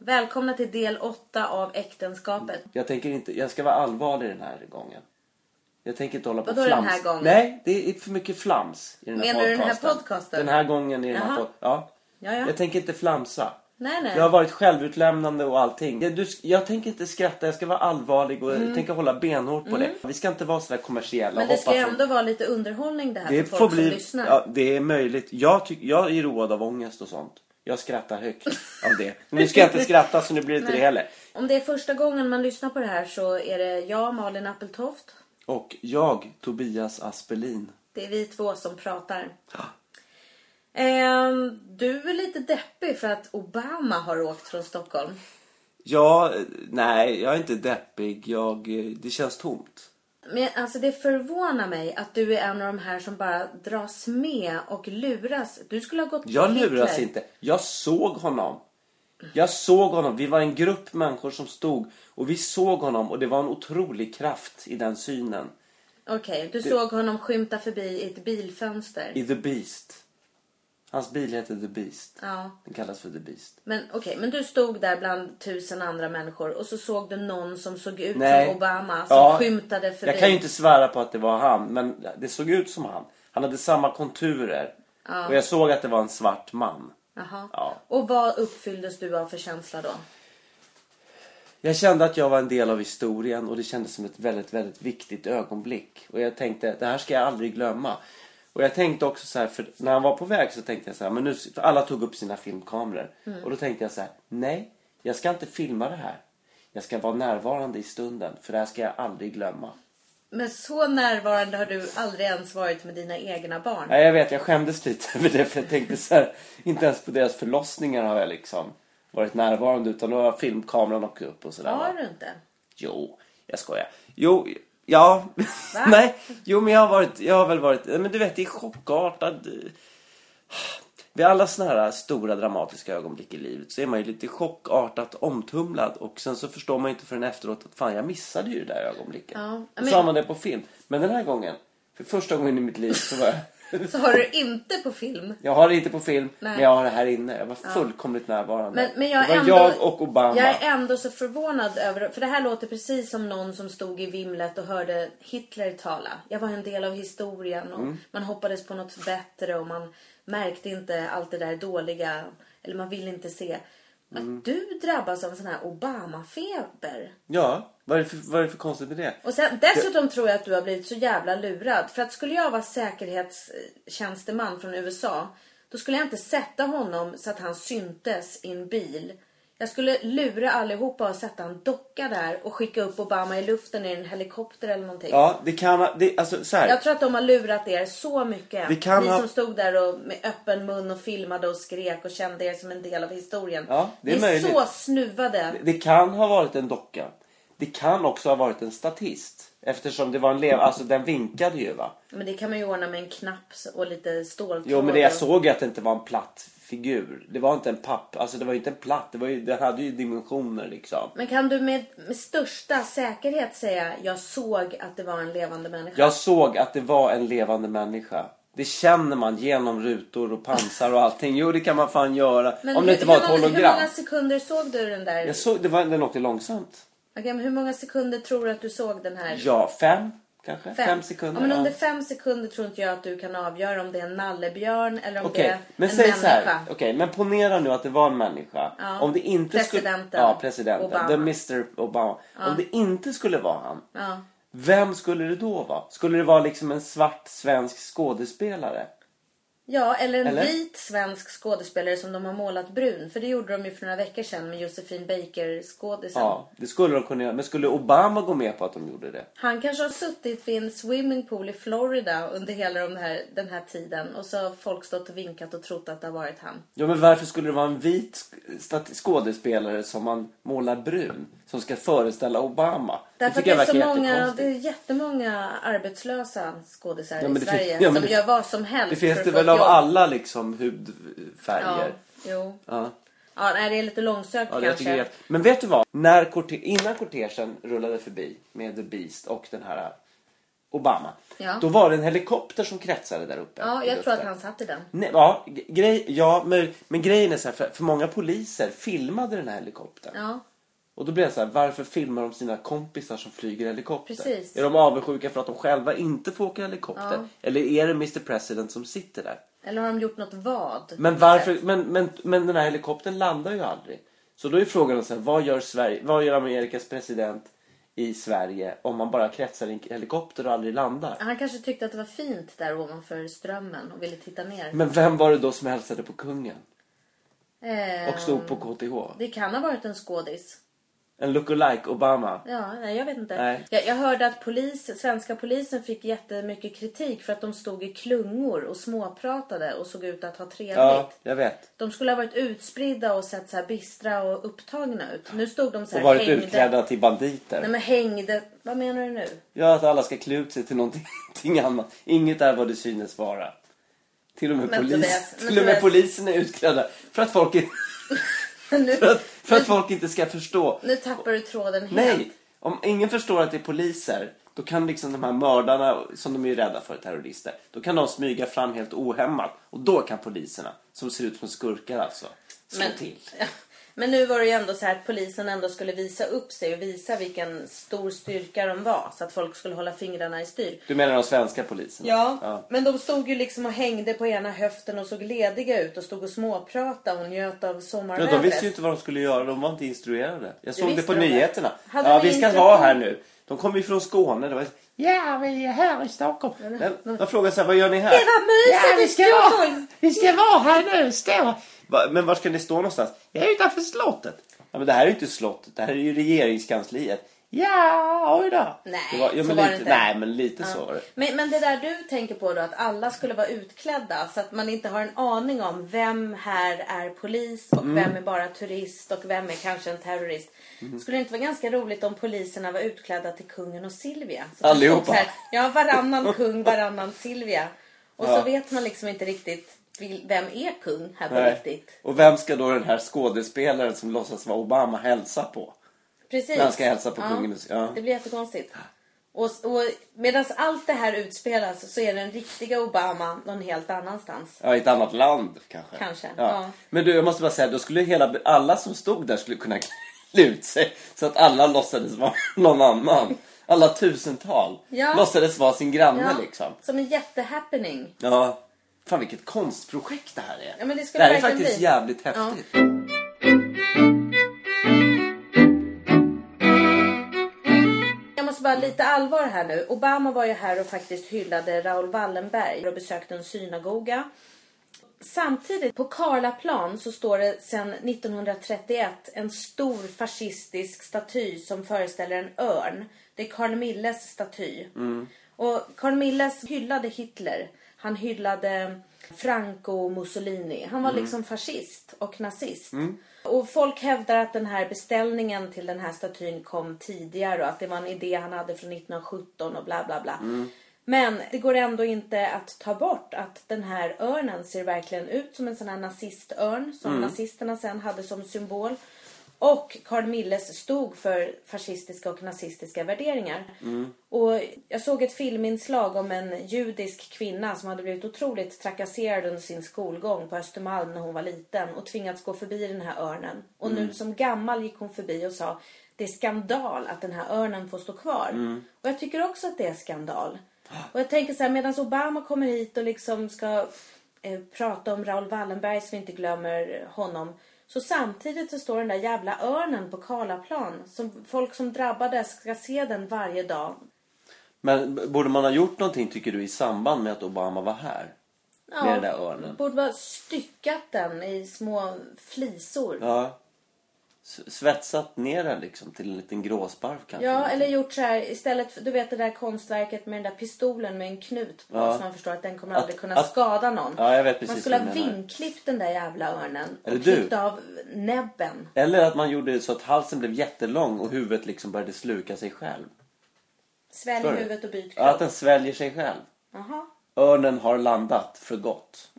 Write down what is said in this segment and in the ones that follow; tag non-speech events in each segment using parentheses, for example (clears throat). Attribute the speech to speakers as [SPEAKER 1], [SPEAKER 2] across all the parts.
[SPEAKER 1] välkomna till del 8 av äktenskapet.
[SPEAKER 2] Jag tänker inte, jag ska vara allvarlig den här gången. Jag tänker inte hålla på
[SPEAKER 1] Vadå
[SPEAKER 2] flams.
[SPEAKER 1] den här gången?
[SPEAKER 2] Nej, det är för mycket flams i den här
[SPEAKER 1] Menar du den här
[SPEAKER 2] podcasten.
[SPEAKER 1] podcasten?
[SPEAKER 2] Den här gången i den här
[SPEAKER 1] Jaha.
[SPEAKER 2] podcasten. Ja.
[SPEAKER 1] Ja, ja.
[SPEAKER 2] Jag tänker inte flamsa.
[SPEAKER 1] Nej, nej.
[SPEAKER 2] Jag har varit självutlämnande och allting. Jag, du, jag tänker inte skratta, jag ska vara allvarlig och jag tänker hålla benhårt på det. Vi ska inte vara sådär kommersiella.
[SPEAKER 1] Mm. Men
[SPEAKER 2] och
[SPEAKER 1] det ska
[SPEAKER 2] hoppa
[SPEAKER 1] ju
[SPEAKER 2] från-
[SPEAKER 1] ändå vara lite underhållning det här
[SPEAKER 2] det
[SPEAKER 1] för
[SPEAKER 2] får
[SPEAKER 1] folk som
[SPEAKER 2] bli,
[SPEAKER 1] lyssnar.
[SPEAKER 2] ja, Det är möjligt. Jag, tyck, jag är road av ångest och sånt. Jag skrattar högt av det. Men nu ska jag inte skratta så nu blir det inte det heller.
[SPEAKER 1] Om det är första gången man lyssnar på det här så är det jag, Malin Appeltoft.
[SPEAKER 2] Och jag, Tobias Aspelin.
[SPEAKER 1] Det är vi två som pratar. Ehm, du är lite deppig för att Obama har åkt från Stockholm.
[SPEAKER 2] Ja, eh, nej, jag är inte deppig. Jag, eh, det känns tomt.
[SPEAKER 1] Men alltså det förvånar mig att du är en av de här som bara dras med och luras. Du skulle ha gått
[SPEAKER 2] Jag
[SPEAKER 1] Hitler.
[SPEAKER 2] luras inte. Jag såg honom. Jag såg honom. Vi var en grupp människor som stod och vi såg honom och det var en otrolig kraft i den synen.
[SPEAKER 1] Okej, du såg honom skymta förbi i ett bilfönster.
[SPEAKER 2] I The Beast. Hans bil heter The Beast.
[SPEAKER 1] Ja.
[SPEAKER 2] Den kallas för The Beast.
[SPEAKER 1] Men okej, men du stod där bland tusen andra människor och så såg du någon som såg ut som Obama som
[SPEAKER 2] Ja.
[SPEAKER 1] skymtade förbi.
[SPEAKER 2] Jag kan ju inte svära på att det var han, men det såg ut som han. Han hade samma konturer. Och jag såg att det var en svart man.
[SPEAKER 1] Jaha.
[SPEAKER 2] Ja.
[SPEAKER 1] Och vad uppfylldes du av för känsla då?
[SPEAKER 2] Jag kände att jag var en del av historien och det kändes som ett väldigt, väldigt viktigt ögonblick. Och jag tänkte, det här ska jag aldrig glömma. Och jag tänkte också så här, för när han var på väg så tänkte jag så här, men nu, för alla tog upp sina filmkameror. Och då tänkte jag så här, nej, jag ska inte filma det här. Jag ska vara närvarande i stunden, för det här ska jag aldrig glömma.
[SPEAKER 1] Men så närvarande har du aldrig ens varit med dina egna barn.
[SPEAKER 2] Nej, jag vet, jag skämdes lite (laughs) över det för jag tänkte så här, inte ens på deras förlossningar har jag liksom varit närvarande utan då har filmkameran åkt upp och sådär. va?
[SPEAKER 1] Har du inte?
[SPEAKER 2] Jo, jag skojar. Jo, ja. (laughs) Nej, jo men jag har varit, jag har väl varit, men du vet det är chockartad. eh, Vid alla såna här stora dramatiska ögonblick i livet så är man ju lite chockartat omtumlad och sen så förstår man ju inte förrän efteråt att fan jag missade ju det där ögonblicket.
[SPEAKER 1] Ja,
[SPEAKER 2] Då
[SPEAKER 1] men-
[SPEAKER 2] sa man det på film. Men den här gången, för första gången i mitt liv så var jag (laughs)
[SPEAKER 1] Så har du inte på film.
[SPEAKER 2] jag har det inte på film,
[SPEAKER 1] Nej.
[SPEAKER 2] men jag har det här inne. Jag var fullkomligt närvarande.
[SPEAKER 1] Men, men jag är
[SPEAKER 2] det var
[SPEAKER 1] ändå,
[SPEAKER 2] jag och Obama.
[SPEAKER 1] Jag är ändå så förvånad över För det här låter precis som någon som stod i vimlet och hörde Hitler tala. Jag var en del av historien och man hoppades på något bättre och man märkte inte allt det där dåliga. Eller man ville inte se. Att du drabbas av en sån här Obama-feber.
[SPEAKER 2] Ja, vad är, det för, vad är det för konstigt med det?
[SPEAKER 1] Och sen, dessutom tror jag att du har blivit så jävla lurad. För att skulle jag vara säkerhetstjänsteman från USA, då skulle jag inte sätta honom så att han syntes i en bil. Jag skulle lura allihopa och sätta en docka där och skicka upp Obama i luften i en helikopter eller någonting.
[SPEAKER 2] Ja, det kan ha- det, alltså, så här.
[SPEAKER 1] Jag tror att de har lurat er så mycket.
[SPEAKER 2] Det kan
[SPEAKER 1] Ni
[SPEAKER 2] ha-
[SPEAKER 1] som stod där och med öppen mun och filmade och skrek och kände er som en del av historien.
[SPEAKER 2] Ja, det är
[SPEAKER 1] Ni är
[SPEAKER 2] möjligt.
[SPEAKER 1] så snuvade.
[SPEAKER 2] Det kan ha varit en docka. Det kan också ha varit en statist. Eftersom det var en lev... Alltså den vinkade ju va?
[SPEAKER 1] Men det kan man ju ordna med en knapp och lite ståltråd.
[SPEAKER 2] Jo men det jag
[SPEAKER 1] och-
[SPEAKER 2] såg ju att det inte var en platt figur. Det var inte en papp... Alltså det var ju inte en platt. Det, var ju, det hade ju dimensioner liksom.
[SPEAKER 1] Men kan du med, med största säkerhet säga jag såg att det var en levande människa?
[SPEAKER 2] Jag såg att det var en levande människa. Det känner man genom rutor och pansar och allting. Jo, det kan man fan göra.
[SPEAKER 1] Men
[SPEAKER 2] Om
[SPEAKER 1] hur-
[SPEAKER 2] det inte var
[SPEAKER 1] hur
[SPEAKER 2] ett
[SPEAKER 1] många- Hur
[SPEAKER 2] hologram.
[SPEAKER 1] många sekunder såg du den där?
[SPEAKER 2] Jag såg, det var, den åkte långsamt.
[SPEAKER 1] Okej, men hur många sekunder tror du att du såg den här?
[SPEAKER 2] Ja, fem kanske? Fem, sekunder.
[SPEAKER 1] Ja, men
[SPEAKER 2] ja.
[SPEAKER 1] under fem sekunder tror inte jag att du kan avgöra om det är en nallebjörn eller om
[SPEAKER 2] Okej,
[SPEAKER 1] det är
[SPEAKER 2] men
[SPEAKER 1] en
[SPEAKER 2] säg
[SPEAKER 1] människa.
[SPEAKER 2] så här. Okej, men ponera nu att det var en människa.
[SPEAKER 1] Ja.
[SPEAKER 2] Om det inte
[SPEAKER 1] Presidenten.
[SPEAKER 2] skulle... Ja, presidenten.
[SPEAKER 1] Obama.
[SPEAKER 2] The Mr Obama. Om det inte skulle vara han.
[SPEAKER 1] Ja.
[SPEAKER 2] Vem skulle det då vara? Skulle det vara liksom en svart svensk skådespelare?
[SPEAKER 1] Ja, eller en
[SPEAKER 2] Eller?
[SPEAKER 1] vit svensk skådespelare som de har målat brun. För det gjorde de ju för några veckor sedan med Josefin Baker-skådisen.
[SPEAKER 2] Ja, det skulle de kunna göra. Men skulle Obama gå med på att de gjorde det?
[SPEAKER 1] Han kanske har suttit vid en swimmingpool i Florida under hela de här, den här tiden och så har folk stått och vinkat och trott att det har varit han.
[SPEAKER 2] Ja, men varför skulle det vara en vit sk- stat- skådespelare som man målar brun? Som ska föreställa Obama?
[SPEAKER 1] Därför att
[SPEAKER 2] tycker
[SPEAKER 1] det är,
[SPEAKER 2] jag
[SPEAKER 1] så
[SPEAKER 2] verkar
[SPEAKER 1] många,
[SPEAKER 2] jättekonstigt.
[SPEAKER 1] det är jättemånga arbetslösa skådisar
[SPEAKER 2] Ja, men
[SPEAKER 1] i
[SPEAKER 2] det fin-
[SPEAKER 1] Sverige
[SPEAKER 2] ja,
[SPEAKER 1] som
[SPEAKER 2] men det-
[SPEAKER 1] gör vad som helst
[SPEAKER 2] Det
[SPEAKER 1] för
[SPEAKER 2] finns
[SPEAKER 1] att
[SPEAKER 2] det
[SPEAKER 1] få
[SPEAKER 2] väl
[SPEAKER 1] ett
[SPEAKER 2] av
[SPEAKER 1] jobb.
[SPEAKER 2] alla liksom
[SPEAKER 1] Ja,
[SPEAKER 2] hudfärger?
[SPEAKER 1] jo. Ja.
[SPEAKER 2] Ja.
[SPEAKER 1] nej, det är lite långsökt
[SPEAKER 2] Ja, det jag
[SPEAKER 1] kanske.
[SPEAKER 2] tycker det är... Men vet du vad? När korte... Innan kortegen rullade förbi med The Beast och den här eh, Obama.
[SPEAKER 1] Ja.
[SPEAKER 2] Då var det en helikopter som kretsade där uppe.
[SPEAKER 1] Ja,
[SPEAKER 2] i
[SPEAKER 1] jag tror
[SPEAKER 2] luften.
[SPEAKER 1] att han satt i den.
[SPEAKER 2] Nej, ja, g- grej, ja men, men grejen är så här, för, för många poliser filmade den här helikoptern.
[SPEAKER 1] Ja,
[SPEAKER 2] Och då blir det så här, varför filmar de sina kompisar som flyger helikopter?
[SPEAKER 1] Precis.
[SPEAKER 2] Är de avundsjuka för att de själva inte får åka helikopter?
[SPEAKER 1] Ja.
[SPEAKER 2] Eller är det Mr President som sitter där?
[SPEAKER 1] eller har de gjort något vad?
[SPEAKER 2] Men varför, men, men, men den här helikoptern landar ju aldrig. Så då är frågan så här, vad gör Sverige, vad gör Amerikas president i Sverige om man bara kretsar i en helikopter och aldrig landar?
[SPEAKER 1] Han kanske tyckte att det var fint där ovanför strömmen och ville titta ner.
[SPEAKER 2] Men vem var det då som hälsade på kungen?
[SPEAKER 1] Ehm,
[SPEAKER 2] Och stod
[SPEAKER 1] Eh.
[SPEAKER 2] på KTH?
[SPEAKER 1] Det kan ha varit en skådis.
[SPEAKER 2] En lookalike Obama?
[SPEAKER 1] Ja, nej, jag vet inte.
[SPEAKER 2] Nej.
[SPEAKER 1] Jag, jag hörde att polis, svenska polisen fick jättemycket kritik för att de stod i klungor och småpratade och såg ut att ha trevligt.
[SPEAKER 2] Ja, jag vet.
[SPEAKER 1] De skulle ha varit utspridda och sett så här bistra och upptagna ut. Nu stod de så
[SPEAKER 2] Och
[SPEAKER 1] här
[SPEAKER 2] varit
[SPEAKER 1] hängde.
[SPEAKER 2] utklädda till banditer.
[SPEAKER 1] Nej men hängde. Vad menar du nu? (laughs)
[SPEAKER 2] Ja, att alla ska klä ut sig till någonting (laughs) annat. Inget är vad det synes vara. Till och med,
[SPEAKER 1] Men
[SPEAKER 2] polis,
[SPEAKER 1] Tobias, men
[SPEAKER 2] till och
[SPEAKER 1] Tobias.
[SPEAKER 2] med polisen är utklädda för att folk, i-
[SPEAKER 1] nu,
[SPEAKER 2] (laughs) för att, för att folk inte ska förstå.
[SPEAKER 1] nu tappar du tråden helt.
[SPEAKER 2] Nej, om ingen förstår att det är poliser, då kan liksom de här mördarna, som de är ju rädda för, terrorister, då kan de smyga fram helt ohämmat. Och då kan poliserna, som ser ut som skurkar alltså, slå
[SPEAKER 1] Men-
[SPEAKER 2] till.
[SPEAKER 1] (laughs) Men nu var det ju ändå så här att polisen ändå skulle visa upp sig och visa vilken stor styrka de var. Så att folk skulle hålla fingrarna i styr.
[SPEAKER 2] Du menar de svenska poliserna?
[SPEAKER 1] Ja, men de stod ju liksom och hängde på ena höften och såg lediga ut och stod och småpratade och njöt av
[SPEAKER 2] Ja,
[SPEAKER 1] sommarvädret.
[SPEAKER 2] de visste ju inte vad de skulle göra. De var inte instruerade. Jag såg det
[SPEAKER 1] visste
[SPEAKER 2] på
[SPEAKER 1] de väl?
[SPEAKER 2] nyheterna.
[SPEAKER 1] Hade
[SPEAKER 2] Ja,
[SPEAKER 1] ni
[SPEAKER 2] vi ska
[SPEAKER 1] instruktion?
[SPEAKER 2] vara här nu. De kommer ju från Skåne. Det var Ja, vi är här i Stockholm. Men de frågade så här, vad gör ni här?
[SPEAKER 1] Det var mysigt i Stockholm.
[SPEAKER 2] vi ska vara här nu. Stå. Va, Men var ska ni stå någonstans? Jag är utanför slottet. Ja, men det här är ju inte slottet. Det här är ju regeringskansliet. Ja, oj då.
[SPEAKER 1] Nej,
[SPEAKER 2] det var, ja,
[SPEAKER 1] så
[SPEAKER 2] men
[SPEAKER 1] var det
[SPEAKER 2] lite,
[SPEAKER 1] inte.
[SPEAKER 2] Nej, men lite så var det.
[SPEAKER 1] Men, men det där du tänker på då, att alla skulle vara utklädda så att man inte har en aning om vem här är polis och
[SPEAKER 2] Mm.
[SPEAKER 1] vem är bara turist och vem är kanske en terrorist.
[SPEAKER 2] Mm-hmm.
[SPEAKER 1] Skulle det inte vara ganska roligt om poliserna var utklädda till kungen och Silvia? Så att det
[SPEAKER 2] Allihopa.
[SPEAKER 1] stod så här, Ja, varannan kung, varannan Silvia. Och
[SPEAKER 2] Ja.
[SPEAKER 1] så vet man liksom inte riktigt vil- vem är kung här på
[SPEAKER 2] Nej.
[SPEAKER 1] riktigt.
[SPEAKER 2] Och vem ska då den här skådespelaren som låtsas vara Obama hälsa på?
[SPEAKER 1] Precis.
[SPEAKER 2] Man ska hälsa på kungen och- ja.
[SPEAKER 1] Det blir jättekonstigt. Och, och medan allt det här utspelas så är den riktiga Obama någon helt annanstans.
[SPEAKER 2] Ja, i ett annat land kanske.
[SPEAKER 1] Kanske,
[SPEAKER 2] Ja.
[SPEAKER 1] ja.
[SPEAKER 2] Men du, jag måste bara säga, då skulle hela, alla som stod där skulle kunna klä ut sig så att alla låtsades vara (laughs) någon annan. Alla tusental
[SPEAKER 1] Ja.
[SPEAKER 2] låtsades vara sin granne
[SPEAKER 1] Ja,
[SPEAKER 2] liksom.
[SPEAKER 1] Som en jättehappening.
[SPEAKER 2] Ja. Fan vilket konstprojekt det här är.
[SPEAKER 1] Ja, men det
[SPEAKER 2] det
[SPEAKER 1] skulle
[SPEAKER 2] här är
[SPEAKER 1] verkligen
[SPEAKER 2] faktiskt
[SPEAKER 1] bli.
[SPEAKER 2] jävligt häftigt.
[SPEAKER 1] Jag måste bara lite allvar här nu. Obama var ju här och faktiskt hyllade Raoul Wallenberg och besökte en synagoga. Samtidigt på Karlaplan så står det sedan 1931 en stor fascistisk staty som föreställer en örn. Det är Karl Milles staty. Och Karl Milles hyllade Hitler. Han hyllade Franco och Mussolini. Han var liksom fascist och nazist. Och folk hävdar att den här beställningen till den här statyn kom tidigare och att det var en idé han hade från 1917 och bla bla bla. Men det går ändå inte att ta bort att den här örnen ser verkligen ut som en sån här nazistörn som nazisterna sen hade som symbol. Och Carl Milles stod för fascistiska och nazistiska värderingar. Och jag såg ett filminslag om en judisk kvinna som hade blivit otroligt trakasserad under sin skolgång på Östermalm när hon var liten och tvingats gå förbi den här örnen. Och nu som gammal gick hon förbi och sa det är skandal att den här örnen får stå kvar. Och jag tycker också att det är skandal. Och jag tänker så här, medan Obama kommer hit och liksom ska eh, prata om Raoul Wallenberg så vi inte glömmer honom. Så samtidigt så står den där jävla örnen på Karlaplan. Som folk som drabbades ska se den varje dag.
[SPEAKER 2] Men b- borde man ha gjort någonting tycker du i samband med att Obama var här?
[SPEAKER 1] Ja,
[SPEAKER 2] Med den där örnen.
[SPEAKER 1] Borde vara styckat den i små flisor. Ja,
[SPEAKER 2] Ja. S- Svetsat ner den liksom till en liten gråsparv kanske.
[SPEAKER 1] eller gjort så här istället för, du vet det där konstverket med den där pistolen med en knut på
[SPEAKER 2] Ja.
[SPEAKER 1] så man förstår att den kommer
[SPEAKER 2] Att-
[SPEAKER 1] aldrig kunna
[SPEAKER 2] att-
[SPEAKER 1] skada någon.
[SPEAKER 2] Ja, jag vet precis
[SPEAKER 1] man skulle
[SPEAKER 2] vad
[SPEAKER 1] ha
[SPEAKER 2] du menar.
[SPEAKER 1] vinklippt den där jävla örnen
[SPEAKER 2] Eller
[SPEAKER 1] och
[SPEAKER 2] du.
[SPEAKER 1] klippt av näbben.
[SPEAKER 2] Eller att man gjorde så att halsen blev jättelång och huvudet liksom började sluka sig själv.
[SPEAKER 1] Svälj
[SPEAKER 2] Förstår du?
[SPEAKER 1] huvudet och byt
[SPEAKER 2] Ja, att
[SPEAKER 1] kropp.
[SPEAKER 2] den sväljer sig själv.
[SPEAKER 1] Jaha.
[SPEAKER 2] Örnen har landat för gott.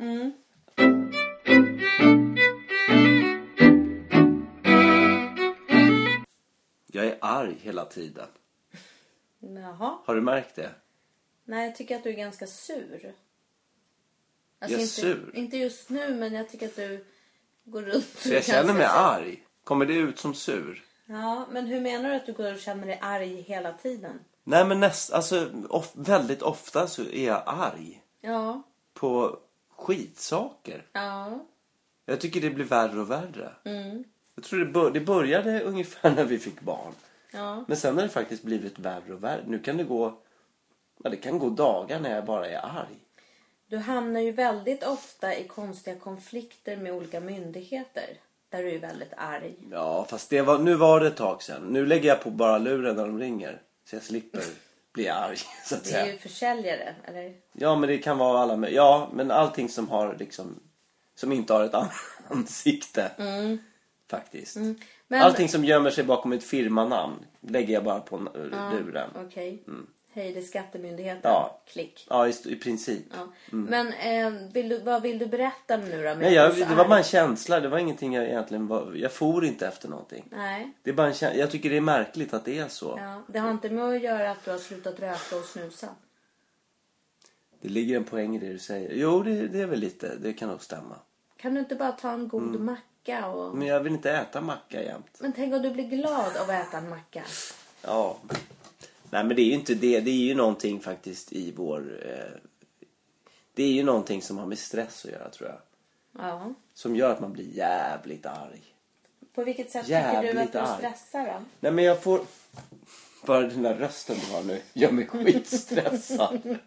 [SPEAKER 2] Jag är arg hela tiden.
[SPEAKER 1] Jaha.
[SPEAKER 2] Har du märkt det?
[SPEAKER 1] Nej, jag tycker att du är ganska sur. Alltså,
[SPEAKER 2] Jag är
[SPEAKER 1] inte,
[SPEAKER 2] sur?
[SPEAKER 1] Inte just nu, men jag tycker att du går runt och
[SPEAKER 2] För jag
[SPEAKER 1] ganska
[SPEAKER 2] känner mig
[SPEAKER 1] sur.
[SPEAKER 2] arg. Kommer det ut som sur?
[SPEAKER 1] Ja, men hur menar du att du går och känner dig arg hela tiden?
[SPEAKER 2] Nej men näst, alltså, of, väldigt ofta så är jag arg
[SPEAKER 1] Ja,
[SPEAKER 2] på skitsaker.
[SPEAKER 1] ja,
[SPEAKER 2] Jag tycker det blir värre och värre.
[SPEAKER 1] Mm.
[SPEAKER 2] Jag tror det, bör, det började ungefär (laughs) när vi fick barn.
[SPEAKER 1] ja.
[SPEAKER 2] Men sen har det faktiskt blivit värre och värre. Nu kan det gå, ja, det kan gå dagar när jag bara är arg.
[SPEAKER 1] Du hamnar ju väldigt ofta i konstiga konflikter med olika myndigheter. Där du är väldigt arg.
[SPEAKER 2] Ja, fast det var, nu var det ett tag sedan. Nu lägger jag på bara luren när de ringer. Så
[SPEAKER 1] (laughs)
[SPEAKER 2] jag slipper bli arg, (laughs) så att
[SPEAKER 1] Det är
[SPEAKER 2] säga.
[SPEAKER 1] ju försäljare, eller?
[SPEAKER 2] Ja, men det kan vara alla möj- Ja, men allting som har liksom... Som inte har ett (laughs) an- ansikte. Faktiskt.
[SPEAKER 1] Mm. Men-
[SPEAKER 2] Allting som gömmer sig bakom ett firmanamn lägger jag bara på n- luren.
[SPEAKER 1] Okej. Hej, det är Skattemyndigheten.
[SPEAKER 2] Mm. Ja.
[SPEAKER 1] Klick.
[SPEAKER 2] Ja, i, st- i princip.
[SPEAKER 1] Ja. Men eh, vill du, vad vill du berätta nu då? Med
[SPEAKER 2] Mm. Nej, jag,
[SPEAKER 1] att du är så
[SPEAKER 2] det var
[SPEAKER 1] arg?
[SPEAKER 2] bara en känsla. Det var ingenting jag egentligen var... Jag for inte efter någonting.
[SPEAKER 1] Nej.
[SPEAKER 2] Det är bara en känsla. Jag tycker det är märkligt att det är så.
[SPEAKER 1] Ja. Det har inte med att göra att du har slutat röka och snusa.
[SPEAKER 2] Det ligger en poäng i det du säger. Jo, det, det är väl lite. Det kan nog stämma.
[SPEAKER 1] Kan du inte bara ta en god
[SPEAKER 2] Mm.
[SPEAKER 1] macka och...
[SPEAKER 2] Men jag vill inte äta macka jämt.
[SPEAKER 1] Men tänk om du blir glad av att äta en macka.
[SPEAKER 2] Ja. Nej men det är ju inte det. Det är ju någonting faktiskt i vår... Eh, det är ju någonting som har med stress att göra tror jag.
[SPEAKER 1] Ja.
[SPEAKER 2] Som gör att man blir jävligt arg.
[SPEAKER 1] På vilket sätt tycker du
[SPEAKER 2] Jävligt
[SPEAKER 1] att du
[SPEAKER 2] arg.
[SPEAKER 1] stressar då?
[SPEAKER 2] Nej men jag får... Bara den där rösten du har nu gör mig skitstressad.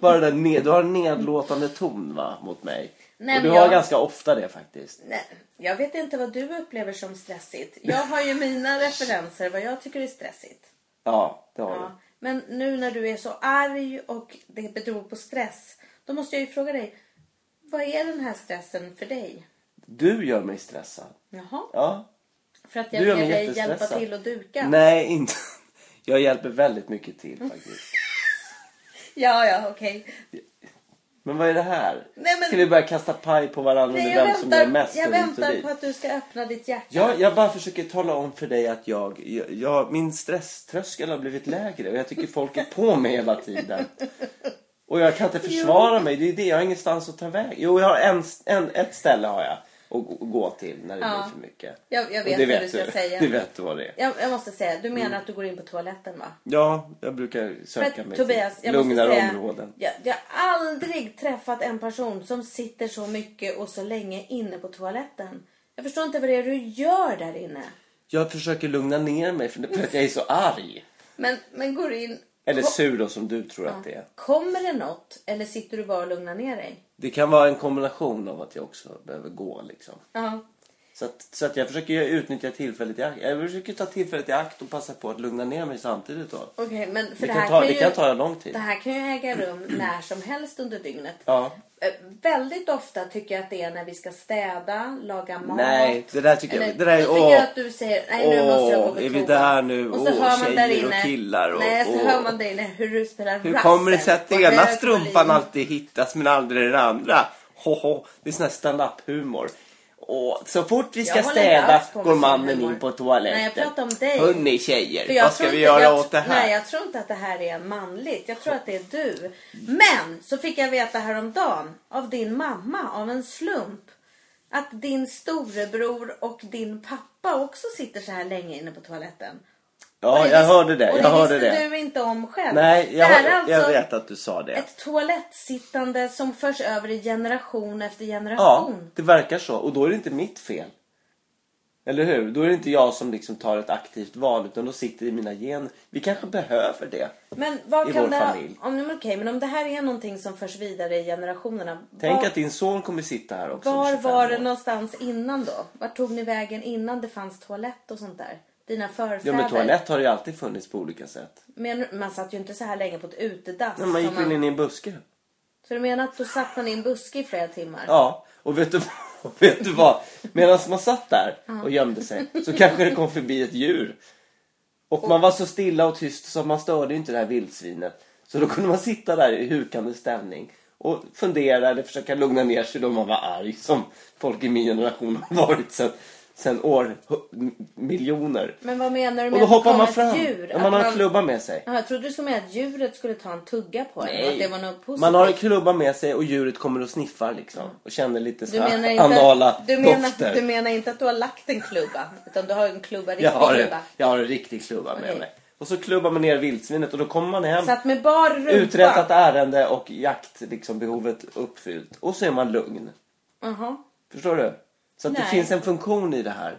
[SPEAKER 2] Bara den ned... Du har en nedlåtande ton va, mot mig.
[SPEAKER 1] Nej,
[SPEAKER 2] Och du
[SPEAKER 1] men
[SPEAKER 2] har
[SPEAKER 1] jag-
[SPEAKER 2] ganska ofta det faktiskt.
[SPEAKER 1] Nej, jag vet inte vad du upplever som stressigt. Jag har ju
[SPEAKER 2] (laughs)
[SPEAKER 1] mina referenser vad jag tycker är stressigt.
[SPEAKER 2] Ja, det har
[SPEAKER 1] Ja. Men nu när du är så arg och det beror på stress. Då måste jag ju fråga dig. Vad är den här stressen för dig?
[SPEAKER 2] du. Du gör mig stressad.
[SPEAKER 1] Jaha.
[SPEAKER 2] Ja.
[SPEAKER 1] För att
[SPEAKER 2] Du gör
[SPEAKER 1] jag ber
[SPEAKER 2] mig
[SPEAKER 1] dig hjälpa
[SPEAKER 2] jättestressad.
[SPEAKER 1] till att duka?
[SPEAKER 2] Nej, inte... Jag hjälper väldigt mycket till faktiskt.
[SPEAKER 1] Ja, ja, okej.
[SPEAKER 2] Men vad är det här?
[SPEAKER 1] Nej, men-
[SPEAKER 2] Ska vi börja kasta paj på varandra
[SPEAKER 1] Nej,
[SPEAKER 2] under
[SPEAKER 1] jag
[SPEAKER 2] vem som gör
[SPEAKER 1] väntar,
[SPEAKER 2] mest
[SPEAKER 1] jag
[SPEAKER 2] och hit och
[SPEAKER 1] väntar
[SPEAKER 2] dit?
[SPEAKER 1] på att du ska öppna ditt hjärta. (laughs)
[SPEAKER 2] Jag, jag bara försöker tala om för dig att jag, jag, jag, min stresströskel har blivit lägre och jag tycker folk är på mig hela tiden. Och jag kan inte försvara mig, det är det. Jag har ingenstans att ta väg. Jo, jag har en, en, ett ställe har jag att gå- gå till när det
[SPEAKER 1] Ja.
[SPEAKER 2] blir för mycket.
[SPEAKER 1] Jag- jag
[SPEAKER 2] Och
[SPEAKER 1] vet
[SPEAKER 2] det
[SPEAKER 1] vad du ska säga.
[SPEAKER 2] Det vet du vad det är.
[SPEAKER 1] Jag, jag måste säga, du
[SPEAKER 2] Mm.
[SPEAKER 1] menar att du går in på toaletten va?
[SPEAKER 2] Ja, jag brukar
[SPEAKER 1] För
[SPEAKER 2] söka
[SPEAKER 1] att,
[SPEAKER 2] mig
[SPEAKER 1] Tobias,
[SPEAKER 2] till
[SPEAKER 1] jag måste säga,
[SPEAKER 2] lugnare områden.
[SPEAKER 1] Jag, jag har aldrig träffat en person som sitter så mycket och så länge inne på toaletten. Jag förstår inte vad det är du gör där inne.
[SPEAKER 2] Jag försöker lugna ner mig för för att jag är så arg.
[SPEAKER 1] Men, men går in...
[SPEAKER 2] Eller
[SPEAKER 1] Ko-
[SPEAKER 2] sur då, som du tror att det är.
[SPEAKER 1] Kommer det något eller sitter du bara och lugnar ner dig?
[SPEAKER 2] Det kan vara en kombination av att jag också behöver gå liksom.
[SPEAKER 1] Ja.
[SPEAKER 2] Så att, så att jag försöker ju utnyttja tillfället i akt. Jag försöker ta tillfället i akt och passa på att lugna ner mig samtidigt då.
[SPEAKER 1] Okej, men för det,
[SPEAKER 2] Det kan
[SPEAKER 1] här
[SPEAKER 2] ta-
[SPEAKER 1] kan
[SPEAKER 2] det
[SPEAKER 1] ju,
[SPEAKER 2] kan ta lång tid.
[SPEAKER 1] Det här kan ju äga
[SPEAKER 2] (clears throat)
[SPEAKER 1] rum när som helst under dygnet.
[SPEAKER 2] Ja.
[SPEAKER 1] Eh, Väldigt ofta tycker jag att det är när vi ska städa, laga mat.
[SPEAKER 2] Nej, det där tycker jag- det där är-
[SPEAKER 1] då tycker jag
[SPEAKER 2] åh.
[SPEAKER 1] att du säger, nej nu måste jag gå på
[SPEAKER 2] Åh, är vi
[SPEAKER 1] toa."
[SPEAKER 2] där nu?
[SPEAKER 1] Och så
[SPEAKER 2] Åh,
[SPEAKER 1] hör man där
[SPEAKER 2] tjejer och
[SPEAKER 1] inne.
[SPEAKER 2] killar och-
[SPEAKER 1] nej, så
[SPEAKER 2] åh.
[SPEAKER 1] hör man där inne hur du spelar
[SPEAKER 2] Hur
[SPEAKER 1] rassel
[SPEAKER 2] kommer det sig att
[SPEAKER 1] på
[SPEAKER 2] den ena
[SPEAKER 1] hög
[SPEAKER 2] strumpan
[SPEAKER 1] volym.
[SPEAKER 2] alltid hittas men aldrig den andra? Hoho, det är sån här stand-up-humor. Och så fort vi ska
[SPEAKER 1] Jag håller inte
[SPEAKER 2] städa
[SPEAKER 1] alls på med
[SPEAKER 2] går
[SPEAKER 1] sån
[SPEAKER 2] mannen
[SPEAKER 1] humor.
[SPEAKER 2] in på toaletten.
[SPEAKER 1] Nej, jag pratar om dig.
[SPEAKER 2] Hörni
[SPEAKER 1] För
[SPEAKER 2] tjejer,
[SPEAKER 1] jag
[SPEAKER 2] vad ska
[SPEAKER 1] tror
[SPEAKER 2] vi
[SPEAKER 1] inte-
[SPEAKER 2] göra
[SPEAKER 1] jag,
[SPEAKER 2] åt det här?
[SPEAKER 1] Nej, jag tror inte att det här är manligt. Jag tror att det är du. Men så fick jag veta häromdagen av din mamma av en slump att din storebror och din pappa också sitter så här länge inne på toaletten. Och
[SPEAKER 2] Ja, jag
[SPEAKER 1] vis-
[SPEAKER 2] hörde det.
[SPEAKER 1] Och
[SPEAKER 2] Jag hörde
[SPEAKER 1] visste
[SPEAKER 2] det.
[SPEAKER 1] du inte om själv.
[SPEAKER 2] Nej, jag,
[SPEAKER 1] det här är
[SPEAKER 2] hör,
[SPEAKER 1] alltså
[SPEAKER 2] jag vet att du sa det.
[SPEAKER 1] ett toalettsittande som förs över i generation efter
[SPEAKER 2] Ja,
[SPEAKER 1] generation.
[SPEAKER 2] det verkar så. Och då är det inte mitt fel. Eller hur? Då är det inte jag som liksom tar ett aktivt val utan då sitter det i mina gener. Vi kanske behöver det.
[SPEAKER 1] Men vad
[SPEAKER 2] I
[SPEAKER 1] kan
[SPEAKER 2] vår
[SPEAKER 1] det,
[SPEAKER 2] familj.
[SPEAKER 1] Om, men okej, men om det här är någonting som förs vidare i generationerna.
[SPEAKER 2] Tänk
[SPEAKER 1] vad-
[SPEAKER 2] att din son kommer sitta här också om
[SPEAKER 1] Var
[SPEAKER 2] 25
[SPEAKER 1] var
[SPEAKER 2] år.
[SPEAKER 1] det någonstans innan då? Vart tog ni vägen innan det fanns toalett och sånt där? Dina förfäder?
[SPEAKER 2] Ja men toalett har ju alltid funnits på olika sätt.
[SPEAKER 1] Men man satt ju inte så här länge på ett utedass.
[SPEAKER 2] Men man gick
[SPEAKER 1] som
[SPEAKER 2] väl in i en buske.
[SPEAKER 1] Så du menar att då satt man i en buske i flera timmar?
[SPEAKER 2] Ja, och vet du, vad- (laughs) vet du vad? Medan man satt där och gömde sig så kanske det kom förbi ett djur. Och man var så stilla och tyst så man störde ju inte det här vildsvinet. Så då kunde man sitta där i hukande ställning och fundera eller försöka lugna ner sig då man var arg som folk i min generation har varit sen sen år hu- miljoner.
[SPEAKER 1] Men vad menar du
[SPEAKER 2] Och
[SPEAKER 1] med
[SPEAKER 2] då
[SPEAKER 1] att det
[SPEAKER 2] hoppar
[SPEAKER 1] kom
[SPEAKER 2] man
[SPEAKER 1] ett
[SPEAKER 2] fram.
[SPEAKER 1] djur?
[SPEAKER 2] Ja,
[SPEAKER 1] Att
[SPEAKER 2] man har en klubba med sig.
[SPEAKER 1] Jaha, jag trodde du skulle mena att djuret skulle ta en tugga på en. Att det var något positivt. Mm.
[SPEAKER 2] man har en klubba med sig och djuret kommer och sniffar liksom. Och känner lite så
[SPEAKER 1] du
[SPEAKER 2] här
[SPEAKER 1] menar, inte,
[SPEAKER 2] anala
[SPEAKER 1] du, menar,
[SPEAKER 2] dofter.
[SPEAKER 1] du menar inte att du har lagt en klubba? Utan du har en klubba, riktig
[SPEAKER 2] jag, har en,
[SPEAKER 1] klubba.
[SPEAKER 2] jag har en riktig klubba med
[SPEAKER 1] Okej.
[SPEAKER 2] mig. Och så klubbar man ner vildsvinet och då kommer man hem.
[SPEAKER 1] Så att med bar rumpa.
[SPEAKER 2] Uträttat ärende och jakt, liksom behovet uppfyllt. Och så är man lugn.
[SPEAKER 1] Jaha.
[SPEAKER 2] Förstår du? Så att det
[SPEAKER 1] Nej.
[SPEAKER 2] finns en funktion i det här.